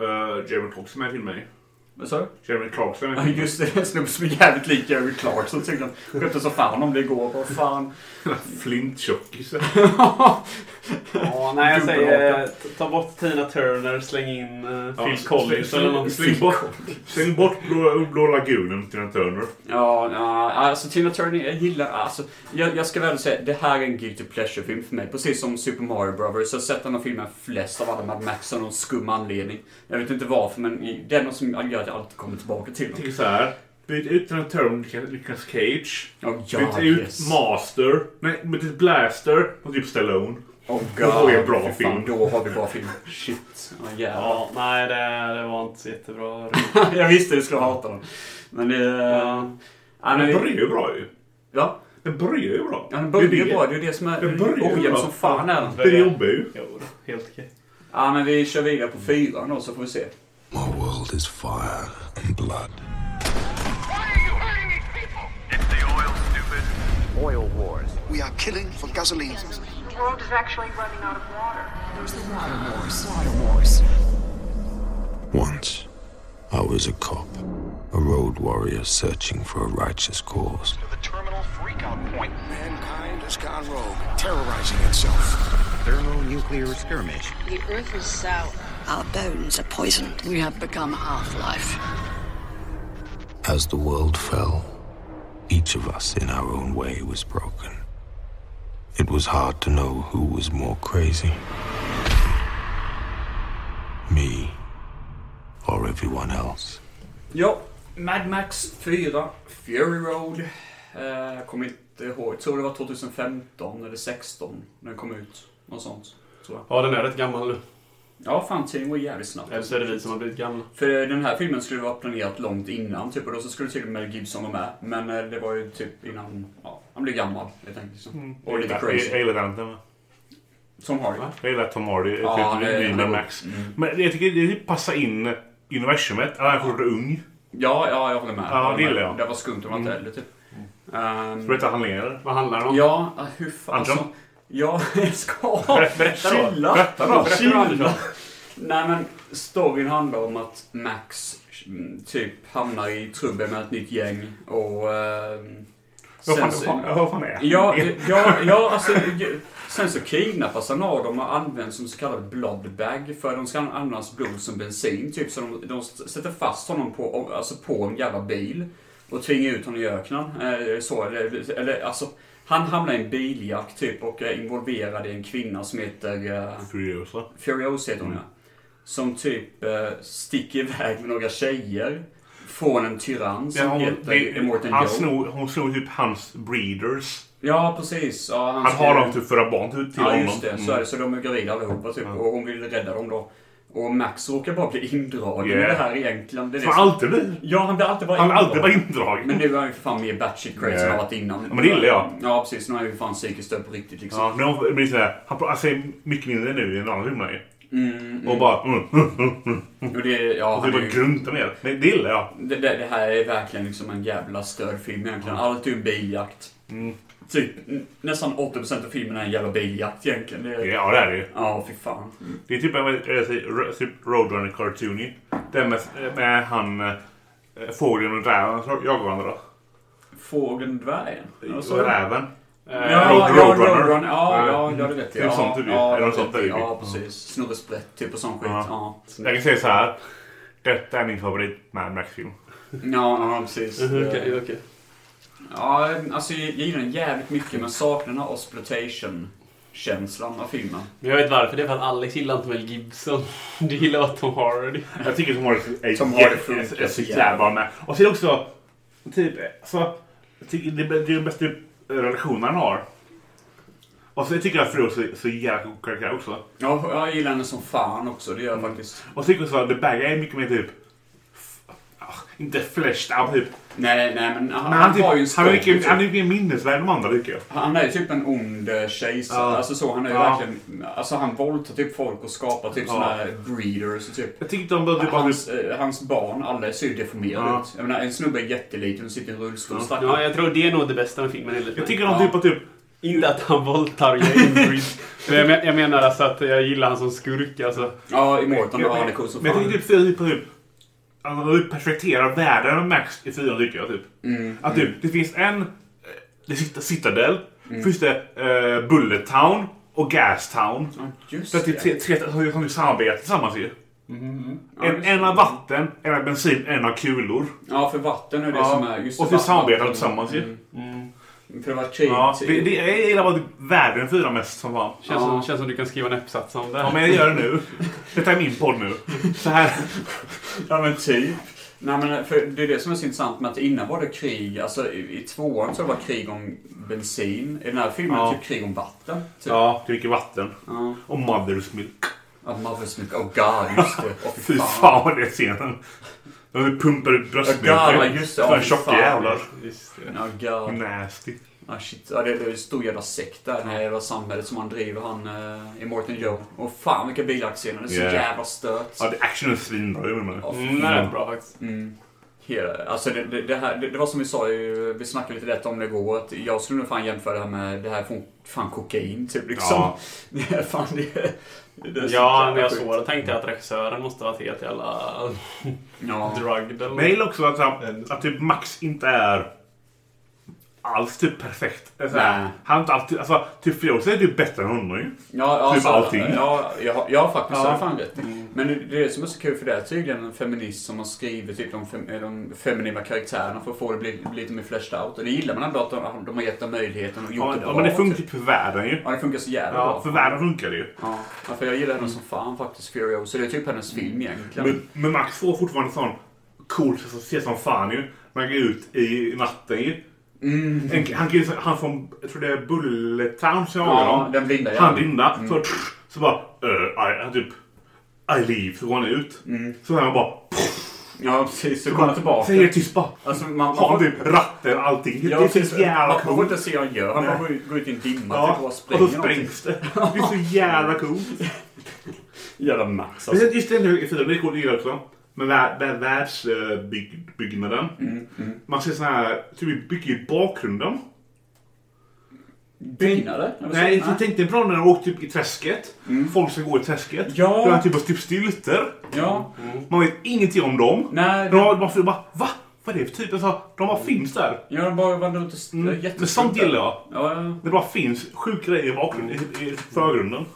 Speaker 2: uh, Jeremy Clarkson med till mig.
Speaker 1: Vad sa du?
Speaker 2: Jeremy Clarkson.
Speaker 1: Ja, just det. En snubbe som är jävligt lik Jerry Clark. Så tyckte han, skämtade så fan om det igår. Vad fan.
Speaker 2: Flint-tjockisen.
Speaker 3: Ja, nej, jag säger eh,
Speaker 1: Dubbelhaka.
Speaker 3: ta bort Tina Turner, släng in eh,
Speaker 2: Ja,
Speaker 3: Phil
Speaker 2: släng-
Speaker 3: Collins
Speaker 2: släng-
Speaker 3: eller något.
Speaker 2: Släng bort, släng bort Blå, Blå lagunen till en Turner.
Speaker 1: Ja, ja, alltså Tina Turner, jag gillar... Alltså, jag, jag ska väl säga, det här är en guilty pleasure-film för mig. Precis som Super Mario Brothers. Jag har sett den här filmen flest av alla Mad Max av någon skum anledning. Jag vet inte varför, men i- det är något som gör att jag alltid kommer tillbaka till
Speaker 2: Jag
Speaker 1: den.
Speaker 2: tänker så här. Byt ut den här Turner till Nicolas Cage.
Speaker 1: Oh,
Speaker 2: byt
Speaker 1: God,
Speaker 2: ut
Speaker 1: yes.
Speaker 2: Master. Nej, byt ut Blaster mot typ Stallone.
Speaker 1: Oh
Speaker 2: Då får vi en bra
Speaker 1: fy
Speaker 2: film.
Speaker 1: då har vi bra film. Shit. Oh, jävlar.
Speaker 3: Ja, nej, det, det var inte så jättebra.
Speaker 1: <laughs> jag visste du skulle hata den. Men det... Ja. Ja,
Speaker 2: Den
Speaker 1: men,
Speaker 2: börjar ju bra ju.
Speaker 1: ja,
Speaker 2: Den börjar ju bra.
Speaker 1: den
Speaker 2: Det är
Speaker 1: börjar
Speaker 2: det.
Speaker 1: ju bra. Det är det som är
Speaker 2: Den börjar ju
Speaker 1: ojämn
Speaker 2: bra.
Speaker 1: som fan är den.
Speaker 2: Den jobbar ju.
Speaker 3: Jo, då, helt okej.
Speaker 1: Ja, men vi kör vidare på fyran då så får vi se.
Speaker 11: My world is fire and blood.
Speaker 10: Why are you hurting these people? It's the oil, stupid.
Speaker 6: Oil wars.
Speaker 11: We are killing for gasoline.
Speaker 9: The world is actually running out of water.
Speaker 11: Once, I was a cop, a road warrior searching for a righteous cause.
Speaker 10: To the terminal freakout point.
Speaker 11: Mankind has gone rogue, terrorizing itself.
Speaker 6: Thermonuclear skirmish.
Speaker 7: The earth is sour.
Speaker 4: Our bones are poisoned.
Speaker 7: We have become half-life.
Speaker 11: As the world fell, each of us in our own way was broken. It was hard to know who was more crazy me or everyone else.
Speaker 1: Ja, Mad Max 4, Fury Road. Eh, Jag kommer inte ihåg. Jag tror det var 2015 eller 16 när den kom ut. Något sånt. Tror jag.
Speaker 3: Ja, den är rätt gammal nu.
Speaker 1: Ja, fan tiden går jävligt snabbt.
Speaker 3: Eller så är det vi som har blivit gamla.
Speaker 1: För eh, den här filmen skulle vara planerat långt innan typ och då så skulle till och med Gibson vara med. Men eh, det var ju typ innan, ja, han blev gammal helt enkelt. Så.
Speaker 2: Mm.
Speaker 1: Och lite
Speaker 2: Jag
Speaker 1: crazy.
Speaker 2: gillar den.
Speaker 1: Som Harry.
Speaker 2: Jag gillar Tom Hardy. Jag
Speaker 1: Ja,
Speaker 2: tycker
Speaker 1: han är- Mm.
Speaker 2: det är
Speaker 1: han är god.
Speaker 2: Mad typ Max. Men jag tycker det typ passar in i universumet. Han är fortfarande ung.
Speaker 1: Ja, ja, jag håller med.
Speaker 2: Ja, Mm. det gillar jag.
Speaker 1: Det var skumt om han inte äldre typ. Ehm,
Speaker 2: Berätta handlingar.
Speaker 3: Vad handlar det om?
Speaker 1: Ja, Ah, hur fan...
Speaker 2: Andersson?
Speaker 1: Alltså, ja, <laughs> jag ska...
Speaker 2: berätta då.
Speaker 1: Chilla.
Speaker 2: Berätta då.
Speaker 1: Chilla.
Speaker 3: Berätta då, Andersson.
Speaker 1: Nej men, storyn handlar om att Max mm, typ hamnar i trubbel med ett nytt gäng och... ehm,
Speaker 2: Vad
Speaker 1: sen
Speaker 2: fan-
Speaker 1: så-
Speaker 2: vad fan- vad fan är han? <laughs>
Speaker 1: Ja, ja, ja, alltså, ju- sen så kidnappas han av dem och används som så kallad bloodbag. För de ska använda hans blod som bensin. Typ så de, de sätter fast honom på, alltså på en jävla bil. Och tvingar ut honom i öknen. Eh, så, eller, eller, alltså, han hamnar i en biljakt typ och är involverad i en kvinna som heter... Eh,
Speaker 2: Furiosa.
Speaker 1: Furious heter hon
Speaker 2: Mm.
Speaker 1: ja. Som typ eh, sticker iväg med några tjejer. Från en tyrann som
Speaker 2: Ja, hon,
Speaker 1: heter
Speaker 2: det-
Speaker 1: Immortan
Speaker 2: han
Speaker 1: Joe.
Speaker 2: snor, hon snor typ hans breeders.
Speaker 1: Ja, precis. Ja,
Speaker 2: Han
Speaker 1: ska-
Speaker 2: har dem typ för att barn till till
Speaker 1: ja,
Speaker 2: honom. Mm.
Speaker 1: just det. Så är det. Så de är gravida allihopa typ. Och hon vill rädda dem då. Och Max råkar bara bli indragen i
Speaker 2: Yeah.
Speaker 1: det här egentligen. Det är det
Speaker 2: Som
Speaker 1: som-
Speaker 2: alltid blir.
Speaker 1: Ja, han blir alltid bara
Speaker 2: Han har alltid
Speaker 1: indragen.
Speaker 2: varit indragen.
Speaker 1: Men nu är han ju för fan mer batshit crazy än han
Speaker 2: Yeah.
Speaker 1: varit innan.
Speaker 2: Ja, men det gillar jag.
Speaker 1: Ja, precis. Nu är han ju för fan psykiskt störd på riktigt liksom.
Speaker 2: Ja, men hon- men det är så här, han, han säger mycket mindre nu än andra filmer ju. Och bara... Mm, mm, mm, mm.
Speaker 1: Och det, ja,
Speaker 2: <laughs> och det
Speaker 1: han
Speaker 2: bara
Speaker 1: är ju-
Speaker 2: gruntar ner. Det, det gillar jag.
Speaker 1: Det, det, det här är verkligen liksom en jävla stödfilm egentligen. Allt är ju en biljakt.
Speaker 2: Mm.
Speaker 1: Typ n- nästan 80% av filmen är en jävla biljakt egentligen. Det är,
Speaker 2: Ja, det är det ju.
Speaker 1: Ja, fy fan.
Speaker 2: Det är typ en vad jag säger, ro- typ Roadrunner cartoony. Den med, med han eh, fågeln och räven som jagar varandra.
Speaker 1: Fågeln dvärgen? Eller så?
Speaker 2: Och räven.
Speaker 1: Ja,
Speaker 2: Eh,
Speaker 1: ja,
Speaker 2: Road-
Speaker 1: Roadrunner. Ja, ja, ja, det vet jag.
Speaker 2: Typ sånt typ.
Speaker 1: Ja,
Speaker 2: Eller något sånt
Speaker 1: det vet jag.
Speaker 2: där.
Speaker 1: Ja, precis. Snurre sprätt, typ och sån skit.
Speaker 2: Ja.
Speaker 1: Ja,
Speaker 2: Jag kan säga så här. Detta är min favorit Mad Max-film.
Speaker 1: ja, ja precis.
Speaker 3: Mhm, Okej, okej.
Speaker 1: Ja, alltså jag jag gillar den jävligt mycket men saknar den här exploitation-känslan av filmen.
Speaker 3: Men jag vet varför. Det är för att Alex gillar inte Mel Gibson. <laughs> Du gillar bara Tom Hardy.
Speaker 2: Jag tycker Tom Hardy är,
Speaker 1: Tom
Speaker 2: Tom
Speaker 1: Hardy
Speaker 2: Hardy
Speaker 1: funkar
Speaker 2: är, är
Speaker 1: så
Speaker 2: så
Speaker 1: jävla
Speaker 2: jävla bra med. Och sen också, typ, alltså, jag tycker det, är- det är den bästa typ, relationen han har. Och sen tycker jag fru också är så jävla god karaktär också.
Speaker 1: Ja, jag gillar den som fan också, det gör
Speaker 2: Mm.
Speaker 1: jag faktiskt.
Speaker 2: Och sen tycker jag också, The Bag är mycket mer typ, ah, inte fleshed out typ.
Speaker 1: Nej, nej men han,
Speaker 2: Men han, typ,
Speaker 1: har ju en
Speaker 2: han, är
Speaker 1: skurk,
Speaker 2: mycket,
Speaker 1: typ.
Speaker 2: han är mycket mer minnesvärd än de andra tycker jag.
Speaker 1: Han är ju typ en ond eh, kejsare.
Speaker 2: Ja.
Speaker 1: Alltså så, han är ju
Speaker 2: Ja.
Speaker 1: verkligen... Alltså han våldtar typ folk och skapar typ
Speaker 2: Ja.
Speaker 1: såna här breeders och typ...
Speaker 2: Jag tycker inte de behöver typ bara...
Speaker 1: Hans, eh, hans barn, alla ser ju deformerade
Speaker 2: Ja.
Speaker 1: ut. Jag menar, en snubbe är jätteliten och sitter i rullstol. stackaren.
Speaker 3: Ja, jag tror det är nog det bästa med filmen enligt
Speaker 2: Jag
Speaker 3: mig.
Speaker 2: tycker de typ, bara typ
Speaker 3: Inte att han våldtar <laughs> Jane Men jag, men- jag menar alltså att jag gillar han som skurk. Alltså.
Speaker 1: Ja, i Morton då
Speaker 2: Men-
Speaker 1: var han är cool som
Speaker 2: Men jag
Speaker 1: fan.
Speaker 2: tycker typ fyra typ, typ han har ju perspekterat världen med Max i fyran tycker jag typ.
Speaker 1: Mm,
Speaker 2: att typ, det finns en eh, det sitter Citadel, finns det eh, Bullet Town och Gas Town.
Speaker 1: Ja, just
Speaker 2: Så att det är tre, tre som ju- som ju samarbetar tillsammans ju.
Speaker 1: Ja,
Speaker 2: En,
Speaker 1: just
Speaker 2: en
Speaker 1: det.
Speaker 2: har vatten, en har bensin, en har kulor.
Speaker 1: Ja, för vatten är det
Speaker 2: Ja,
Speaker 1: som är... Just
Speaker 2: och så
Speaker 1: vatten.
Speaker 2: samarbetar de tillsammans ju.
Speaker 1: Mm. För det var krig.
Speaker 2: Ja, det, det, jag gillar bara typ världen fyra mest som fan.
Speaker 3: Känns, som, känns som du kan skriva en uppsats om det.
Speaker 2: Ja men jag gör det nu. Detta är min podd nu. Så här.
Speaker 1: Ja men typ. Nej men för det är det som är så intressant med att innan var det krig, alltså i, i tvåan så var det krig om bensin. I den här filmen är
Speaker 2: Ja.
Speaker 1: det typ krig om vatten. Typ.
Speaker 2: Ja, dricker vatten.
Speaker 1: Ja.
Speaker 2: Och Mother's Milk.
Speaker 1: Att man får smycka, oh god, just det. Åh
Speaker 2: Fy fan vad det är scenen. De pumpar ut
Speaker 1: Ja,
Speaker 2: bröstmjölken.
Speaker 1: just det. Ja,
Speaker 2: Såna
Speaker 1: fy
Speaker 2: tjocka
Speaker 1: fan.
Speaker 2: jävlar.
Speaker 3: Just det.
Speaker 1: Ja, god.
Speaker 2: Nasty.
Speaker 1: Ah, shit. Ja, det det är en stor jävla sekt där, det här jävla samhället som han driver, han eh, i Morton Joe. Och fan vilka bilaktscener, det är så
Speaker 2: Yeah.
Speaker 1: jävla stört.
Speaker 2: Ja, det action är svinbra. jag menar.
Speaker 1: Ja, fy
Speaker 3: Mm, det är rätt bra faktiskt.
Speaker 1: Mm. Hela, alltså det, det, det, här, det, det var som vi sa, ju, vi snackade lite lätt om det igår, att jag skulle nog fan jämföra det här med det här är fan, fan kokain typ liksom.
Speaker 2: Ja.
Speaker 1: <laughs> Det är fan det, det är så
Speaker 3: Ja,
Speaker 1: jävla
Speaker 3: när jag
Speaker 1: sjukt.
Speaker 3: såg det tänkte jag att regissören måste ha varit helt jävla
Speaker 1: Ja.
Speaker 3: drugged eller
Speaker 2: Men jag gillar också att, han, att typ Max inte är alls typ perfekt. Alltså,
Speaker 1: Nej.
Speaker 2: Han är inte alltid... Alltså, typ Fiose är typ bättre än honom ju.
Speaker 1: Ja, ja,
Speaker 2: Typ
Speaker 1: så-
Speaker 2: allting. Mm.
Speaker 1: Ja, jag, har- jag har faktiskt
Speaker 2: Ja.
Speaker 1: ja. fan rätt. Men det, det är det som är så kul för det är tydligen en feminist som har skrivit typ de, fem, eh, de feminina karaktärerna för att få det bli, bli lite mer fleshed out. Och det gillar man ändå att de, de har gett dem möjligheten och gjort
Speaker 2: Ja,
Speaker 1: det bra.
Speaker 2: men det funkar
Speaker 1: typ.
Speaker 2: typ för världen ju.
Speaker 1: Ja, det funkar så jävla
Speaker 2: Ja, för
Speaker 1: bra.
Speaker 2: världen funkar det ju.
Speaker 1: Ja. ja, för jag gillar henne som fan faktiskt, Furiosa. Det är typ hennes film egentligen.
Speaker 2: Mm. Men, men Max får fortfarande sån cool så ser som fan ju. Man går ut i natten ju. En, han, kan ju- han från, jag tror det är Bullet Town som jag
Speaker 1: Mm. Ja,
Speaker 2: har
Speaker 1: den blinda jäveln.
Speaker 2: Han blinda. Så, så bara, uh, I, han typ, I leave. Så går han ut. Så hör man bara,
Speaker 1: Ja, precis. Mm. Så kommer han
Speaker 2: Så är det
Speaker 1: tillbaka.
Speaker 2: tyst bara.
Speaker 1: Alltså, man, man
Speaker 2: Har han
Speaker 1: får,
Speaker 2: typ ratten och allting.
Speaker 1: ja,
Speaker 2: det är
Speaker 1: precis.
Speaker 2: så jävla
Speaker 1: man, man får
Speaker 2: coolt.
Speaker 1: inte se vad han gör. Han bara går ut- går ut i en dimma typ, och
Speaker 2: Ja,
Speaker 1: bara
Speaker 2: och så
Speaker 1: springer. någonting.
Speaker 2: sprängs det. Det är så jävla coolt.
Speaker 1: Jävla Max
Speaker 2: Men
Speaker 1: alltså.
Speaker 2: sen Just den här filmen, det är coolt att gilla också. Men vär- vär- världsbyggnaden.
Speaker 1: Mm,
Speaker 2: Man ser såna här, typ bygger i bakgrunden.
Speaker 1: Bynare? Eller så?
Speaker 2: Nej, jag tänkte bra när de åkte upp i träsket. Folk ska gå i träsket.
Speaker 1: Mm. Ja.
Speaker 2: De har typ, typ stylter.
Speaker 1: Ja.
Speaker 2: Man vet ingenting om dem.
Speaker 1: Nej,
Speaker 2: De har man får bara, va? Vad är det för typ? Alltså, de bara finns där.
Speaker 1: Ja, de bara vandrar runt och st-
Speaker 2: Mm.
Speaker 1: jättestora.
Speaker 2: Men sånt gillar jag.
Speaker 1: Ja, ja.
Speaker 2: Det bara finns sjuka grejer i bakgrunden, i, i förgrunden.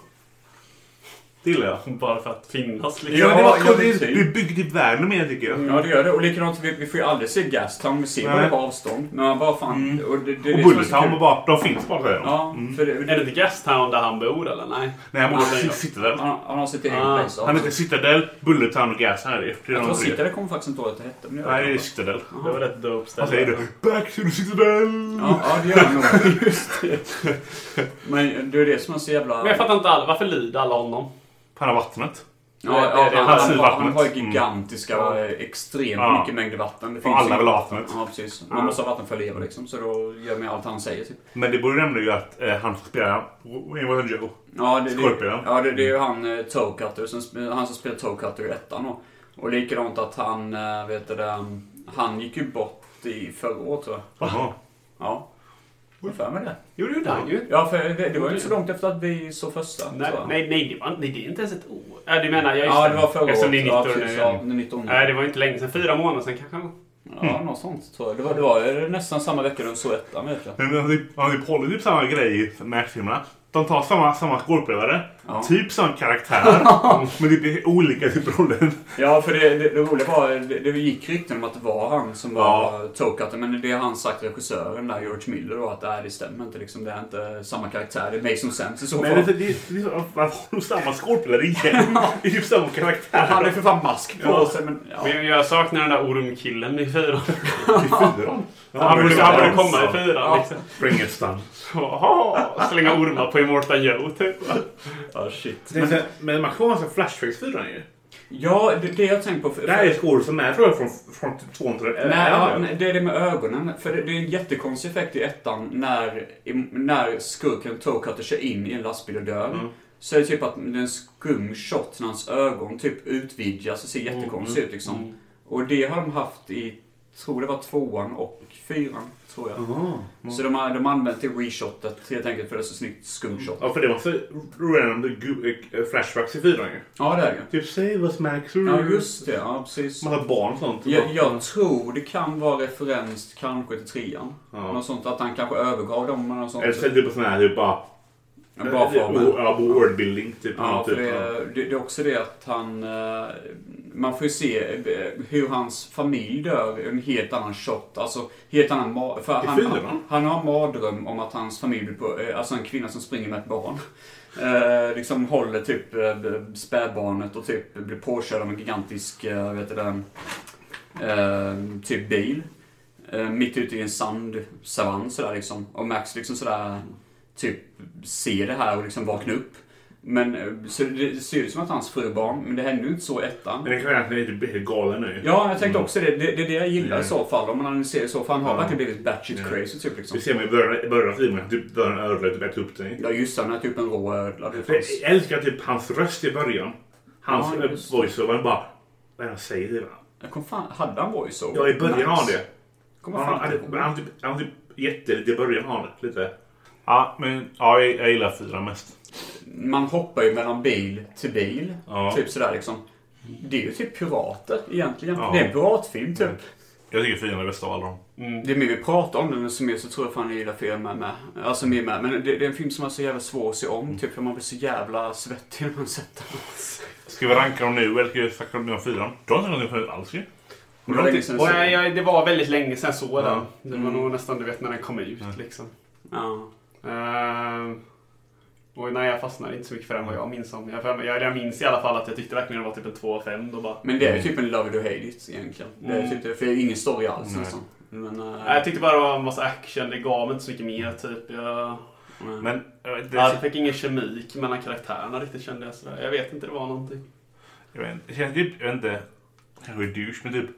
Speaker 2: Det gillar jag.
Speaker 3: Bara för att finnas liksom.
Speaker 2: Ja, men det var
Speaker 1: ja,
Speaker 2: coolt.
Speaker 1: men
Speaker 2: Det
Speaker 1: typ.
Speaker 2: är- det är byggt i världen mer tycker jag.
Speaker 1: ja, det gör det. Och likadant, vi, vi får ju aldrig se Gastown. Vi ser
Speaker 2: Nej. Mm.
Speaker 1: bara på avstånd. Men man bara fan... Och, det, det, är
Speaker 2: Och
Speaker 1: det som är så
Speaker 2: Bullet Town
Speaker 1: kul.
Speaker 2: var bara, Mm. de finns bara säger de.
Speaker 1: Ja, för det,
Speaker 3: Är
Speaker 1: det,
Speaker 3: det inte Gastown där han bor eller? Nej.
Speaker 2: Nej, men
Speaker 1: Nej,
Speaker 2: han
Speaker 1: ja.
Speaker 2: heter Citadel.
Speaker 1: han, han har sitt eget
Speaker 3: Ah,
Speaker 1: place.
Speaker 2: Han heter Citadel, Bullet Town och Gas. Han är det. det. är de
Speaker 1: Jag tror
Speaker 2: tre.
Speaker 1: Citadel kommer faktiskt inte ihåg att det hette. Men det gör
Speaker 2: Nej,
Speaker 1: det
Speaker 2: det är
Speaker 1: kanske.
Speaker 2: Citadel.
Speaker 3: Det var rätt dope ställe.
Speaker 2: Vad säger du? Back to the Citadel!
Speaker 1: Ja, ja, det gör han
Speaker 2: <laughs>
Speaker 1: nog. Just det. Men det är det som är så jävla...
Speaker 3: Men jag fattar inte all, varför lider alla honom?
Speaker 2: Han har vattnet.
Speaker 1: Ja,
Speaker 3: Det- det-
Speaker 1: ja,
Speaker 3: det-
Speaker 1: han,
Speaker 3: det-
Speaker 1: han, har- han
Speaker 3: vattnet.
Speaker 1: har ju gigantiska,
Speaker 3: Mm.
Speaker 1: eh, extremt
Speaker 3: Ja.
Speaker 1: mycket mängder vatten. Det
Speaker 2: Och alla
Speaker 1: ju-
Speaker 2: vill ha vattnet.
Speaker 1: Ja, precis. Man
Speaker 2: Ja.
Speaker 1: måste ha vatten för att leva liksom. Så då gör man ju allt han säger typ.
Speaker 2: Men det borde nämna ju att eh, han som spelar Invasion Joe.
Speaker 1: Ja, det, det,
Speaker 2: Scorpion.
Speaker 1: ja, det, det är ju han eh, Toe Cutter, som, sp- han som spelar Toe Cutter i ettan då. Och likadant att han, eh, vet du det, han gick ju bort i förra året tror jag.
Speaker 2: Jaha.
Speaker 1: Ja. Jag har för mig det.
Speaker 3: Jo, det gjorde han ju.
Speaker 1: Ja, för det, det var ju inte så långt efter att vi såg första.
Speaker 3: Nej,
Speaker 1: tror jag.
Speaker 3: nej, nej, det var inte, nej, det är inte ens ett år. Ja, du menar, jag
Speaker 1: Ja, det var förra året.
Speaker 3: Eftersom det är 19
Speaker 1: Ja,
Speaker 3: år
Speaker 1: precis,
Speaker 3: nu.
Speaker 1: ja, det är 19 år.
Speaker 3: Nej, det var ju inte länge sedan. Fyra månader sedan kanske.
Speaker 1: Ja, något sånt tror jag. Det var, det var ju nästan samma vecka de såg ettan vet jag.
Speaker 2: Men de, de, de håller typ samma grej med filmerna. De tar samma, samma skådespelare,
Speaker 1: Ja.
Speaker 2: typ samma <laughs> karaktär, men det är olika typer av roller.
Speaker 1: Ja, för det, det, det roliga var, det, det gick rykten om att det var han som var Toe Cutter. Men det har han sagt, regissören där, George Miller, då, att nej, det stämmer inte liksom. Det är inte samma karaktär. Det är Mason Sense i så
Speaker 2: Men det, är-
Speaker 1: fall.
Speaker 2: det, är- det, är- varför har de samma skådespelare igen? Det är typ samma karaktär.
Speaker 1: Han är för fan mask på
Speaker 3: Ja.
Speaker 1: sig. Men, ja.
Speaker 3: Men jag- jag saknar den där ormkillen i fyran.
Speaker 2: I fyran.
Speaker 3: Han borde, han borde komma i fyran liksom.
Speaker 2: Frankenstein.
Speaker 3: Jaha, slänga ormar på Immortan Joe typ.
Speaker 1: Ja, shit.
Speaker 2: Men, men man kommer från Flashbacks 4 ju.
Speaker 1: Ja, det, det jag tänkt på. För,
Speaker 2: Det här är skådespelare som är tror jag, från, från typ tvåan till
Speaker 1: Nej, ja, nej, det är det med ögonen. För det, det är en jättekonstig effekt i ettan när, i, när skurken Toe Cutter kör in i en lastbil och dör. Så är det typ att det är en skum shot när hans ögon typ utvidgas och ser jättekonstigt ut liksom. Och det har de haft i, tror det var tvåan och fyran, tror jag. Så de har, de har använt det reshotet helt enkelt för det är så snyggt skumshot.
Speaker 2: Ja, för det var så random gu- eh, Flashbacks i fyran ju.
Speaker 1: Ja, det är det.
Speaker 2: Typ Save Us Max.
Speaker 1: Ja, just det. Ja, precis.
Speaker 2: Massa barn och sånt.
Speaker 1: Jag, jag tror det kan vara referens kanske till trean.
Speaker 2: Ja.
Speaker 1: Något sånt att han kanske övergav dem eller något sånt.
Speaker 2: Eller så är det typ sån här typ bara... Eh,
Speaker 1: Bra formen.
Speaker 2: Ja, wordbuilding typ.
Speaker 1: Ja, för
Speaker 2: typ.
Speaker 1: det, är- det, det är också det att han... eh, Man får ju se eh, hur hans familj dör i en helt annan shot. Alltså, helt annan... ma- För
Speaker 2: I
Speaker 1: han,
Speaker 2: filmen?
Speaker 1: han, han har en mardröm om att hans familj blir på... eh, Alltså en kvinna som springer med ett barn. Eh, liksom håller typ eh, spädbarnet och typ blir påkörd av en gigantisk, eh, vet du det, eh, typ bil. Eh, mitt ute i en sandsavann sådär liksom. Och Max liksom sådär typ ser det här och liksom vaknar upp. Men eh, så det ser ut som att hans fru är barn, men det händer ju inte så i ettan.
Speaker 2: Men den karaktären är typ helt galen nu.
Speaker 1: Ja, jag tänkte också det. Det det är det, jag gillar
Speaker 2: Mm.
Speaker 1: i så fall. Om man analyserar i så fall. Han har verkligen blivit batshit crazy typ liksom.
Speaker 2: Det Mm. ser man i början, i början av filmen. Typ där han ödlar typ äter upp den.
Speaker 1: Ja just det, han äter upp en rå ödla. Det
Speaker 2: För
Speaker 1: fanns-
Speaker 2: jag älskar typ hans röst i början. Hans
Speaker 1: Ja, just.
Speaker 2: ja, voiceover bara... Vad är det han säger? typ?
Speaker 1: Jag kom fan, hade han voiceover?
Speaker 2: Ja, i början har han
Speaker 1: Nice.
Speaker 2: det.
Speaker 1: Kommer
Speaker 2: Han,
Speaker 1: fan
Speaker 2: han,
Speaker 1: inte ihåg.
Speaker 2: han, han, typ, han typ jättelite i början har han det. Lite. Ja, men ja, jag, jag gillar fyran mest.
Speaker 1: Man hoppar ju mellan bil till bil.
Speaker 2: Ja.
Speaker 1: Typ sådär liksom. Det är ju typ pirater egentligen.
Speaker 2: Ja.
Speaker 1: Det är en piratfilm typ.
Speaker 2: Jag tycker fyran är bäst av alla dem.
Speaker 1: Det är mer vi pratar om den som mer så tror jag fan jag gillar filmen med. med. Alltså mer med. Men det, det är en film som är så jävla svår att se om.
Speaker 2: Mm.
Speaker 1: Typ för man blir så jävla svettig när man sätter den.
Speaker 2: Ska vi ranka dem nu eller ska vi snacka nu om fyran? Du har inte rankat dem alls ju.
Speaker 1: Det var länge sedan jag
Speaker 3: Och
Speaker 1: såg
Speaker 3: jag,
Speaker 1: den.
Speaker 3: jag, det var väldigt länge sedan jag såg den. Det var nog nästan du vet när den kom ut liksom.
Speaker 1: Ja.
Speaker 3: Ehm, och nej, jag fastnade inte så mycket för den vad jag minns om. Jag, för- jag, jag minns i alla fall att jag tyckte verkligen det var typ en 2 av 5. Då bara,
Speaker 1: Men det är
Speaker 2: Mm.
Speaker 1: ju typ en Love It or Hate It egentligen. Det är typ det, för det är ingen story alls
Speaker 2: Nej.
Speaker 1: nästan. Men, eh,
Speaker 3: Nej, jag tyckte bara det var en massa action. Det gav mig inte så mycket mer typ. Jag,
Speaker 1: nej.
Speaker 2: Men eh, det,
Speaker 3: jag fick ingen kemik mellan karaktärerna riktigt kände jag. Sådär. Jag vet inte, det var någonting.
Speaker 2: jag, vet, inte, det känns typ, jag vet inte, kanske douche men typ.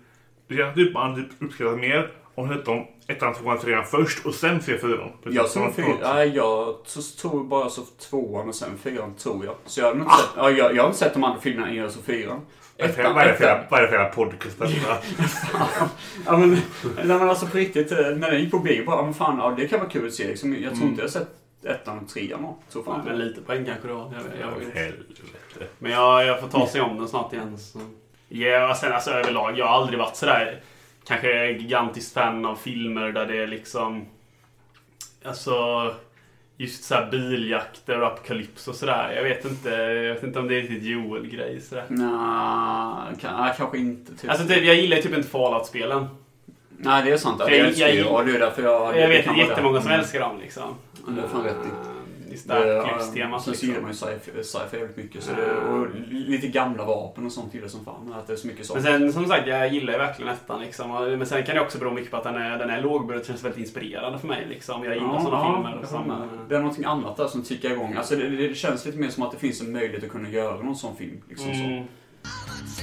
Speaker 2: Det känns typ man typ uppskattar mer om man hittar ettan, tvåan, trean först och sen ser fyran. Precis
Speaker 1: jag
Speaker 2: som
Speaker 1: såg fyra,
Speaker 2: man-
Speaker 1: nej, jag så- tror bara så tvåan och sen fyran tror jag. Så jag har nog inte, sett, ja, jag, jag har inte sett de andra filmerna innan jag såg fyran.
Speaker 2: Ah! Vad är det för- vad är det för- vad är det för jävla podcast? detta?
Speaker 1: Ja, men, nej, men alltså på riktigt, eh, när den gick på bio bara, men fan, ja, det kan vara kul att se liksom. Jag tror
Speaker 3: Mm.
Speaker 1: inte jag har sett ettan och trean då. Så fan.
Speaker 3: Men lite poäng kanske det var. Jag, vet- jag, vet inte.
Speaker 2: Helvete.
Speaker 3: Men jag, jag får ta sig om den snart igen. Så. Ja, och sen alltså överlag. Jag har aldrig varit sådär kanske gigantiskt fan av filmer där det är liksom... Alltså... Just såhär biljakter och apokalyps och sådär. Jag vet inte, jag vet inte om det är riktigt Joel-grej sådär.
Speaker 1: Nej, kan, nej, kanske inte. Typ.
Speaker 3: Alltså typ, jag gillar ju typ inte Fallout-spelen.
Speaker 1: nej, det är sant. Ja,
Speaker 3: jag-
Speaker 1: det älskar
Speaker 3: jag-
Speaker 1: jag, och det är därför jag...
Speaker 3: Jag
Speaker 1: det
Speaker 3: vet
Speaker 1: kan
Speaker 3: att
Speaker 1: vara
Speaker 3: jättemånga
Speaker 1: det.
Speaker 3: som älskar dem liksom.
Speaker 1: Mm, Det är fan rätt i.
Speaker 3: Eh, Fantastiskt starkt
Speaker 1: ja,
Speaker 3: liksom. krigstema.
Speaker 1: Sen så gillar man ju sci-fi sci-fi jävligt mycket. Så det, och lite gamla vapen och sånt gillar jag som fan. Att det är så mycket
Speaker 3: Men
Speaker 1: sånt.
Speaker 3: sen som sagt, jag gillar ju verkligen ettan liksom. Och- Men sen kan det också bero mycket på att den är, den är lågbudget. Den känns väldigt inspirerande för mig liksom. Jag gillar sådana filmer.
Speaker 1: jag
Speaker 3: Liksom.
Speaker 1: håller med. Det är någonting annat där som tickar igång. Alltså det, det känns lite mer som att det finns en möjlighet att kunna göra någon sån film. Liksom
Speaker 3: Mm.
Speaker 1: så.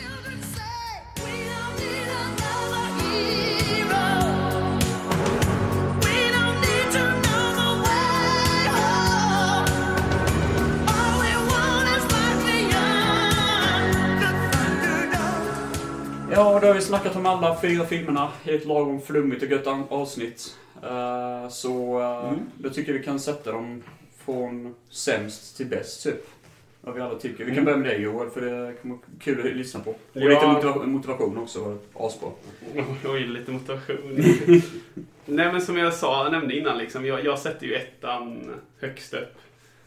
Speaker 1: Ja, då har vi snackat om alla fyra filmerna i ett lagom flummigt och gött an- avsnitt. Eh, så eh,
Speaker 3: Mm.
Speaker 1: då tycker jag vi kan sätta dem från sämst till bäst, typ. Vad vi alla tycker. Vi kan
Speaker 3: Mm.
Speaker 1: börja med dig Joel, för det kommer vara kul att lyssna på. Och
Speaker 3: Ja.
Speaker 1: lite motiva- motivation också, var asbra.
Speaker 3: Oj, lite <laughs> motivation. Nej men som jag sa, jag nämnde innan, liksom, jag, jag sätter ju ettan högst upp.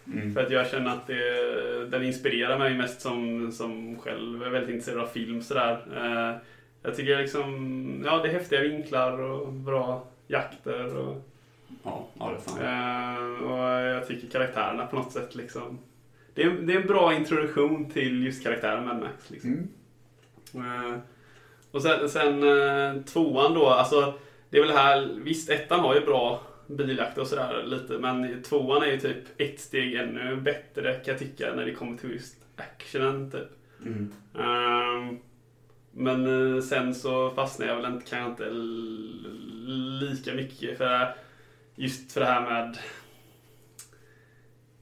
Speaker 1: Mm.
Speaker 3: För att jag känner att det, den inspirerar mig mest som, som själv är väldigt intresserad av film. Sådär. Eh, jag tycker liksom, ja det är häftiga vinklar och bra jakter. Och,
Speaker 1: Ja, ja, det är fan.
Speaker 3: Eh, och jag tycker karaktärerna på något sätt liksom. Det är, det är en bra introduktion till just karaktären Mad Max. Liksom. Eh, och sen, sen eh, tvåan då, alltså det är väl här, visst ettan har ju bra biljakt och sådär lite, men tvåan är ju typ ett steg ännu bättre kan jag tycka när det kommer till just actionen typ.
Speaker 1: Mm.
Speaker 3: Ehm, men eh, sen så fastnar jag väl inte, kanske inte l- lika mycket för just för det här med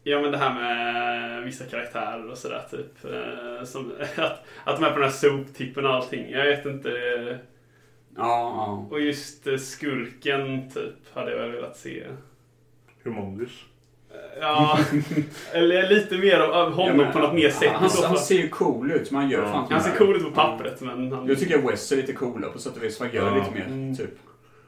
Speaker 3: Ja men det här med vissa karaktärer och sådär typ. Eh, Som, <laughs> att, att de är på den här soptippen och allting. Jag vet inte.
Speaker 1: Ja,
Speaker 3: Och just eh, skurken typ hade jag väl velat se.
Speaker 2: Humongous.
Speaker 1: <laughs>
Speaker 3: Ja, eller lite mer av- av honom
Speaker 1: Ja, men-
Speaker 3: på något mer sätt.
Speaker 1: Han,
Speaker 3: i så
Speaker 1: han
Speaker 3: fall.
Speaker 1: ser ju cool ut, men han gör
Speaker 2: Ja.
Speaker 1: fan inte
Speaker 3: Han
Speaker 1: det
Speaker 3: ser
Speaker 1: här.
Speaker 3: cool ut på pappret men han...
Speaker 1: Jag tycker att West är lite coolare på sätt och vis. för Han gör
Speaker 2: Ja.
Speaker 1: lite mer,
Speaker 3: Mm.
Speaker 1: typ.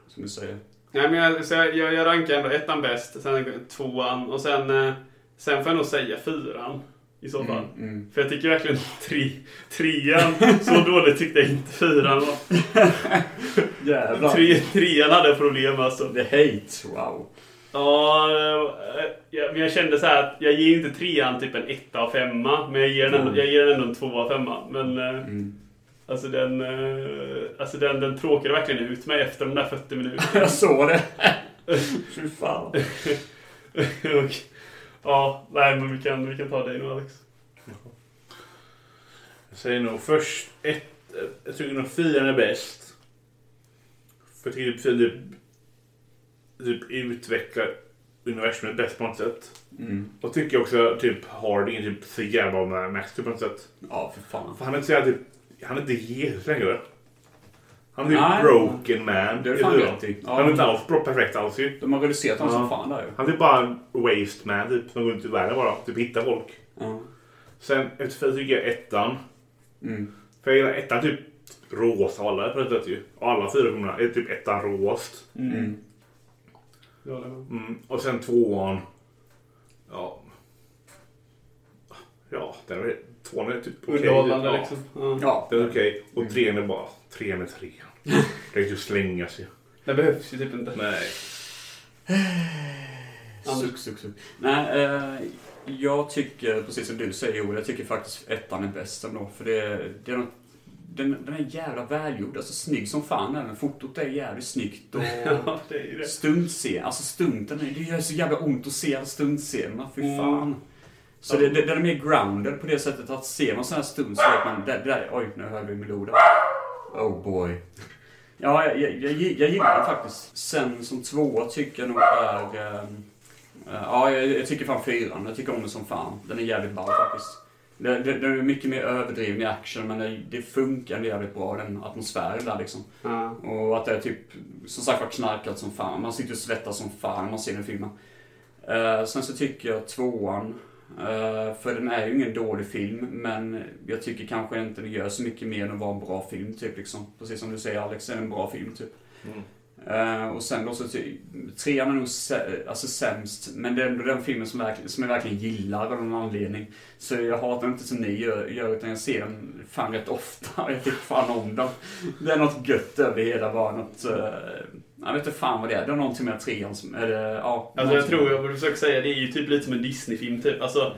Speaker 1: Som du säger.
Speaker 3: Nej, men jag, så jag, jag, jag rankar ändå ettan bäst, sen tvåan och sen, eh, sen får jag nog säga fyran. I så fall.
Speaker 1: mm.
Speaker 3: För jag tycker verkligen tre, trean, så dåligt tyckte jag inte fyran var.
Speaker 1: Jävlar.
Speaker 3: Tre, trean hade problem alltså.
Speaker 1: The hate, wow.
Speaker 3: Ja, eh, jag- men jag kände så här att jag ger ju inte trean typ en etta av femma, men jag ger den,
Speaker 1: Mm.
Speaker 3: ändå- jag ger den ändå en tvåa av femma. Men eh, alltså, den, eh, alltså den, den tråkade verkligen ut mig efter de där 40 minuterna.
Speaker 1: Jag såg <laughs> det. Fy fan.
Speaker 3: Och, ja, nej men vi kan, vi kan ta dig nu Alex.
Speaker 2: Jag säger nog först ett... Jag tycker nog fyran är bäst. För jag tycker typ fyran typ, typ utvecklar universumet bäst på något sätt.
Speaker 1: Mm.
Speaker 2: Och tycker också typ Harding är typ så jävla med Max typ på något sätt.
Speaker 1: Ja, för fan.
Speaker 2: För han är inte så jävla typ... Han är inte Jesus längre. Han är typ
Speaker 1: Nej.
Speaker 2: broken man.
Speaker 1: Det är
Speaker 2: i
Speaker 1: fan
Speaker 2: fyran.
Speaker 1: rätt i. Ja.
Speaker 2: Han är inte alls bra- perfekt alls ju.
Speaker 1: De har reducerat honom som
Speaker 2: Ja.
Speaker 1: fan där ju.
Speaker 2: Han är typ bara en waste man typ. Som går runt i världen bara. Typ hittar folk.
Speaker 1: Ja.
Speaker 2: Sen efter fyra tycker jag ettan.
Speaker 1: Mm.
Speaker 2: För jag gillar ettan typ rosa alla på något sätt ju. Och alla fyra filmerna är typ ettan rost.
Speaker 1: Mm.
Speaker 3: Jag håller med.
Speaker 2: Mm. Och sen tvåan. Ja. Ja, den är, tvåan är typ okej.
Speaker 3: Underhållande
Speaker 2: ja.
Speaker 3: liksom. Ja.
Speaker 1: Ja.
Speaker 2: Den är okej. Och trean är bara, trean är
Speaker 1: <laughs>
Speaker 2: trean. Det är ju slänga sig.
Speaker 3: Det behövs ju typ inte.
Speaker 2: Nej.
Speaker 1: Suck, suck, suck. Nej, eh, jag tycker precis som du säger Joel, jag tycker faktiskt ettan är bäst ändå. För det, det är något, den, den är jävla välgjord. Alltså snygg som fan även. Fotot är jävligt snyggt. Och...
Speaker 3: Ja, det är ju det.
Speaker 1: Stuntscen, alltså stunten, det gör så jävla ont att se alla stuntscenerna, fy
Speaker 3: Mm.
Speaker 1: fan. Så det, det, den är mer grounded på det sättet att ser man sån här stunt så vet man, där, där, oj nu hör vi meloden. Oh boy. Ja, jag, jag, jag, jag gillar den faktiskt. Sen som tvåa tycker jag nog är... ehm, eh, ja, jag, jag tycker fan fyran. Jag tycker om den som fan. Den är jävligt ball faktiskt. Det- det- Den är mycket mer överdriven i action, men det, det funkar ändå jävligt bra, den atmosfären där liksom.
Speaker 3: Ja.
Speaker 1: Och att det är typ, som sagt var, knarkat som fan. Man sitter och svettas som fan när man ser den filmen. Eh, sen så tycker jag tvåan, eh, för den är ju ingen dålig film, men jag tycker kanske inte den gör så mycket mer än att vara en bra film, typ. Liksom. Precis som du säger Alex, är det en bra film, typ. Eh, och sen då så, ty- trean är nog sä- alltså sämst, men det är ändå den filmen som, verkligen, som jag verkligen gillar av någon anledning. Så jag hatar den inte som ni gör, gör utan jag ser den <laughs> fan rätt ofta. Jag tycker fan om den. Det är något gött över det hela bara. Något, eh, Jag vet inte fan vad det är. Det är någonting med trean som... Eller, ja,
Speaker 3: Alltså jag
Speaker 1: någonting.
Speaker 3: tror, jag försöker säga, det är ju typ lite som en Disney-film typ. Alltså,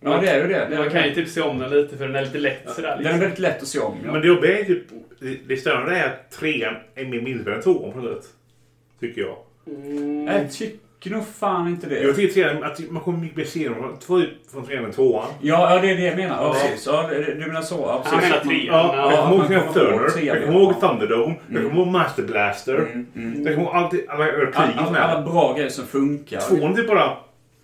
Speaker 1: Ja, det är ju det. Det är
Speaker 3: man
Speaker 1: det.
Speaker 3: kan ju typ se om den lite för den är lite lätt sådär. liksom.
Speaker 1: Den är väldigt lätt att se om. Ja.
Speaker 2: Men det jobbiga är typ... Det det störande är att trean är mer minnesvärd än tvåan på något sätt. Tycker jag.
Speaker 1: Jag tycker nog fan inte det.
Speaker 2: Jag tycker trean, att man kommer mycket mer se dem från- två från trean än tvåan.
Speaker 1: Ja, ja, det är det jag menar. Ja,
Speaker 2: Ja.
Speaker 1: precis. Ja, det- du menar så. Ja, precis.
Speaker 3: menar
Speaker 1: Att man-
Speaker 3: trean.
Speaker 2: Ja,
Speaker 1: Ja,
Speaker 2: jag kommer
Speaker 1: man
Speaker 2: ihåg Knight
Speaker 1: kommer
Speaker 2: of
Speaker 1: ihåg
Speaker 2: Thunder,
Speaker 1: trean,
Speaker 2: jag
Speaker 1: ja.
Speaker 2: kommer ihåg Thunderdome,
Speaker 1: Mm.
Speaker 2: jag kommer ihåg Master Blaster. Jag kommer ihåg allt- alla
Speaker 1: Alla,
Speaker 2: krigen som
Speaker 1: alla, alla
Speaker 2: är.
Speaker 1: bra grejer som funkar.
Speaker 2: Tvåan typ bara...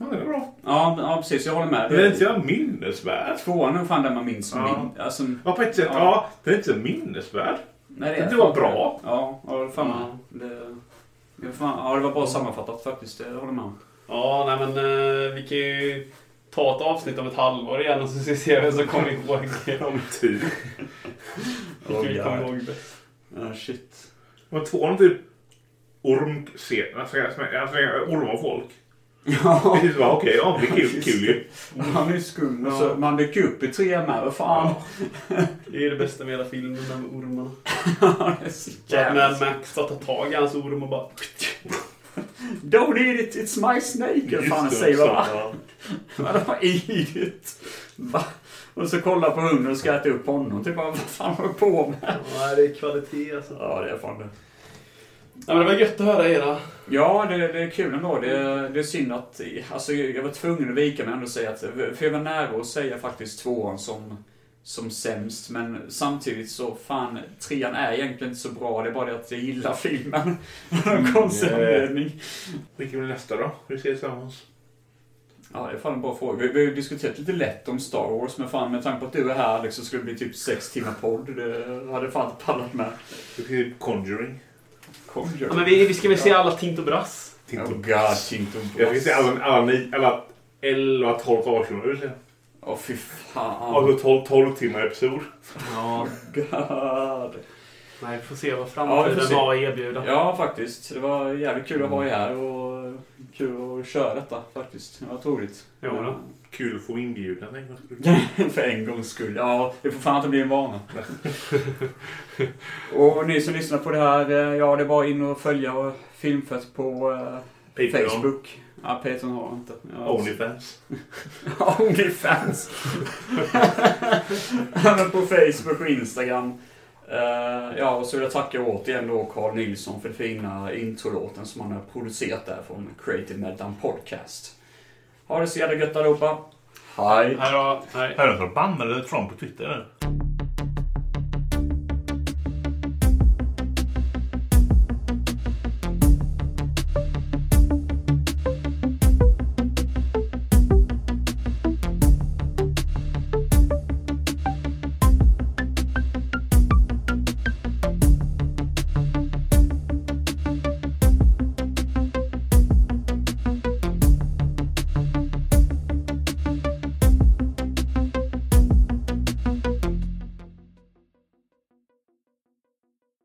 Speaker 2: Ja, det är bra.
Speaker 1: Ja, men- ja, precis. Jag håller med.
Speaker 2: Den är inte
Speaker 1: Det-
Speaker 2: jag minnesvärd.
Speaker 1: Tvåan är nog fan den man minns som
Speaker 2: Ja.
Speaker 1: min. Alltså,
Speaker 2: Ja, på ett sätt. Ja, den är inte så minnesvärd.
Speaker 1: nej,
Speaker 2: Men
Speaker 1: är
Speaker 2: det var
Speaker 1: fan
Speaker 2: bra.
Speaker 1: det. Ja, ja, det fan. Det, det, fan, ja, det var bra sammanfattat faktiskt. Det håller jag med om.
Speaker 3: Ja, nej men eh, vi kan ju ta ett avsnitt om ett halvår igen och så ska vi se vem som kommer <laughs> ihåg
Speaker 2: Om typ.
Speaker 3: vilka vi
Speaker 1: Oh,
Speaker 3: kommer
Speaker 1: God.
Speaker 3: ihåg bäst.
Speaker 1: Ja, shit.
Speaker 2: Men tvåan typ... Orm... se- Alltså, alltså, alltså, ormar folk.
Speaker 1: Ja, <laughs>
Speaker 2: Precis bara, okej, ja, det är kul, kul ju.
Speaker 1: han är skum. och så Man dyker upp i trean med. Vad fan.
Speaker 3: Det är ju det bästa med hela filmen, den med ormarna.
Speaker 1: <laughs> Ja, det är så
Speaker 3: Så att
Speaker 1: jävla-
Speaker 3: när Max tar tag i hans orm och bara...
Speaker 1: Don't eat it, it's my snake! Eller fan han
Speaker 2: Just det,
Speaker 1: säger va?
Speaker 2: så,
Speaker 1: Vadå <laughs> vad eat it? Va? Och så kollar på hunden och ska äta upp honom. Typ bara, vad fan håller du på med?
Speaker 3: Ja, det är kvalitet alltså.
Speaker 1: Ja, det är fan det.
Speaker 3: Ja, men det var gött att höra era.
Speaker 1: Ja, det, det är kul ändå. Det, det är synd att... Alltså, jag var tvungen att vika mig ändå och säga att... För jag var nära att säga faktiskt tvåan som, som sämst. Men samtidigt så, fan, trean är egentligen inte så bra. Det är bara det att jag gillar filmen. <laughs> Av någon konstig
Speaker 2: Mm, yeah.
Speaker 1: anledning.
Speaker 2: Vilken blir nästa då? Vi ses tillsammans.
Speaker 1: Ja, det är fan en bra fråga. Vi, vi har ju diskuterat lite lätt om Star Wars, men fan med tanke på att du är här Alex, så skulle det bli typ sex timmar podd. Det hade fan inte pallat med.
Speaker 2: Vi kan ju Conjuring.
Speaker 1: Conjuring.
Speaker 3: Ja, men vi, vi ska väl se alla Tint och Brass?
Speaker 1: Oh god, Tinto
Speaker 2: Jag fick se alla, alla, ni- alla 11, 12, 18 vill säga.
Speaker 1: Åh fy fan.
Speaker 2: Alltså 12, 12 timmar episod.
Speaker 3: Ja.
Speaker 1: God.
Speaker 3: Nej, vi får se vad E
Speaker 1: Ja, vi får
Speaker 3: framtiden
Speaker 1: se.
Speaker 3: har att erbjuda.
Speaker 1: Ja, faktiskt. Det var jävligt kul att ha er här och kul att köra detta faktiskt. Det var roligt.
Speaker 3: Jo då.
Speaker 2: Kul att få inbjudan. tänk vad
Speaker 1: <laughs>
Speaker 2: kul.
Speaker 1: För en gångs skull. Ja, det får fan inte bli en
Speaker 2: <laughs>
Speaker 1: vana. och ni som lyssnar på det här, eh, ja det är bara in och följa Filmfett på eh,
Speaker 2: Patreon.
Speaker 1: Facebook. Ja, Patreon har jag inte. Jag har-
Speaker 2: Onlyfans.
Speaker 1: <laughs> Onlyfans. Även på Facebook och Instagram. Eh, ja, och så vill jag tacka återigen då Carl Nilsson för den fina introlåten som han har producerat där från Creative Meltdown Podcast. Ha det så jävla gött allihopa. Hej.
Speaker 3: Här då. Hej.
Speaker 2: Hör du att bannade Trump på Twitter?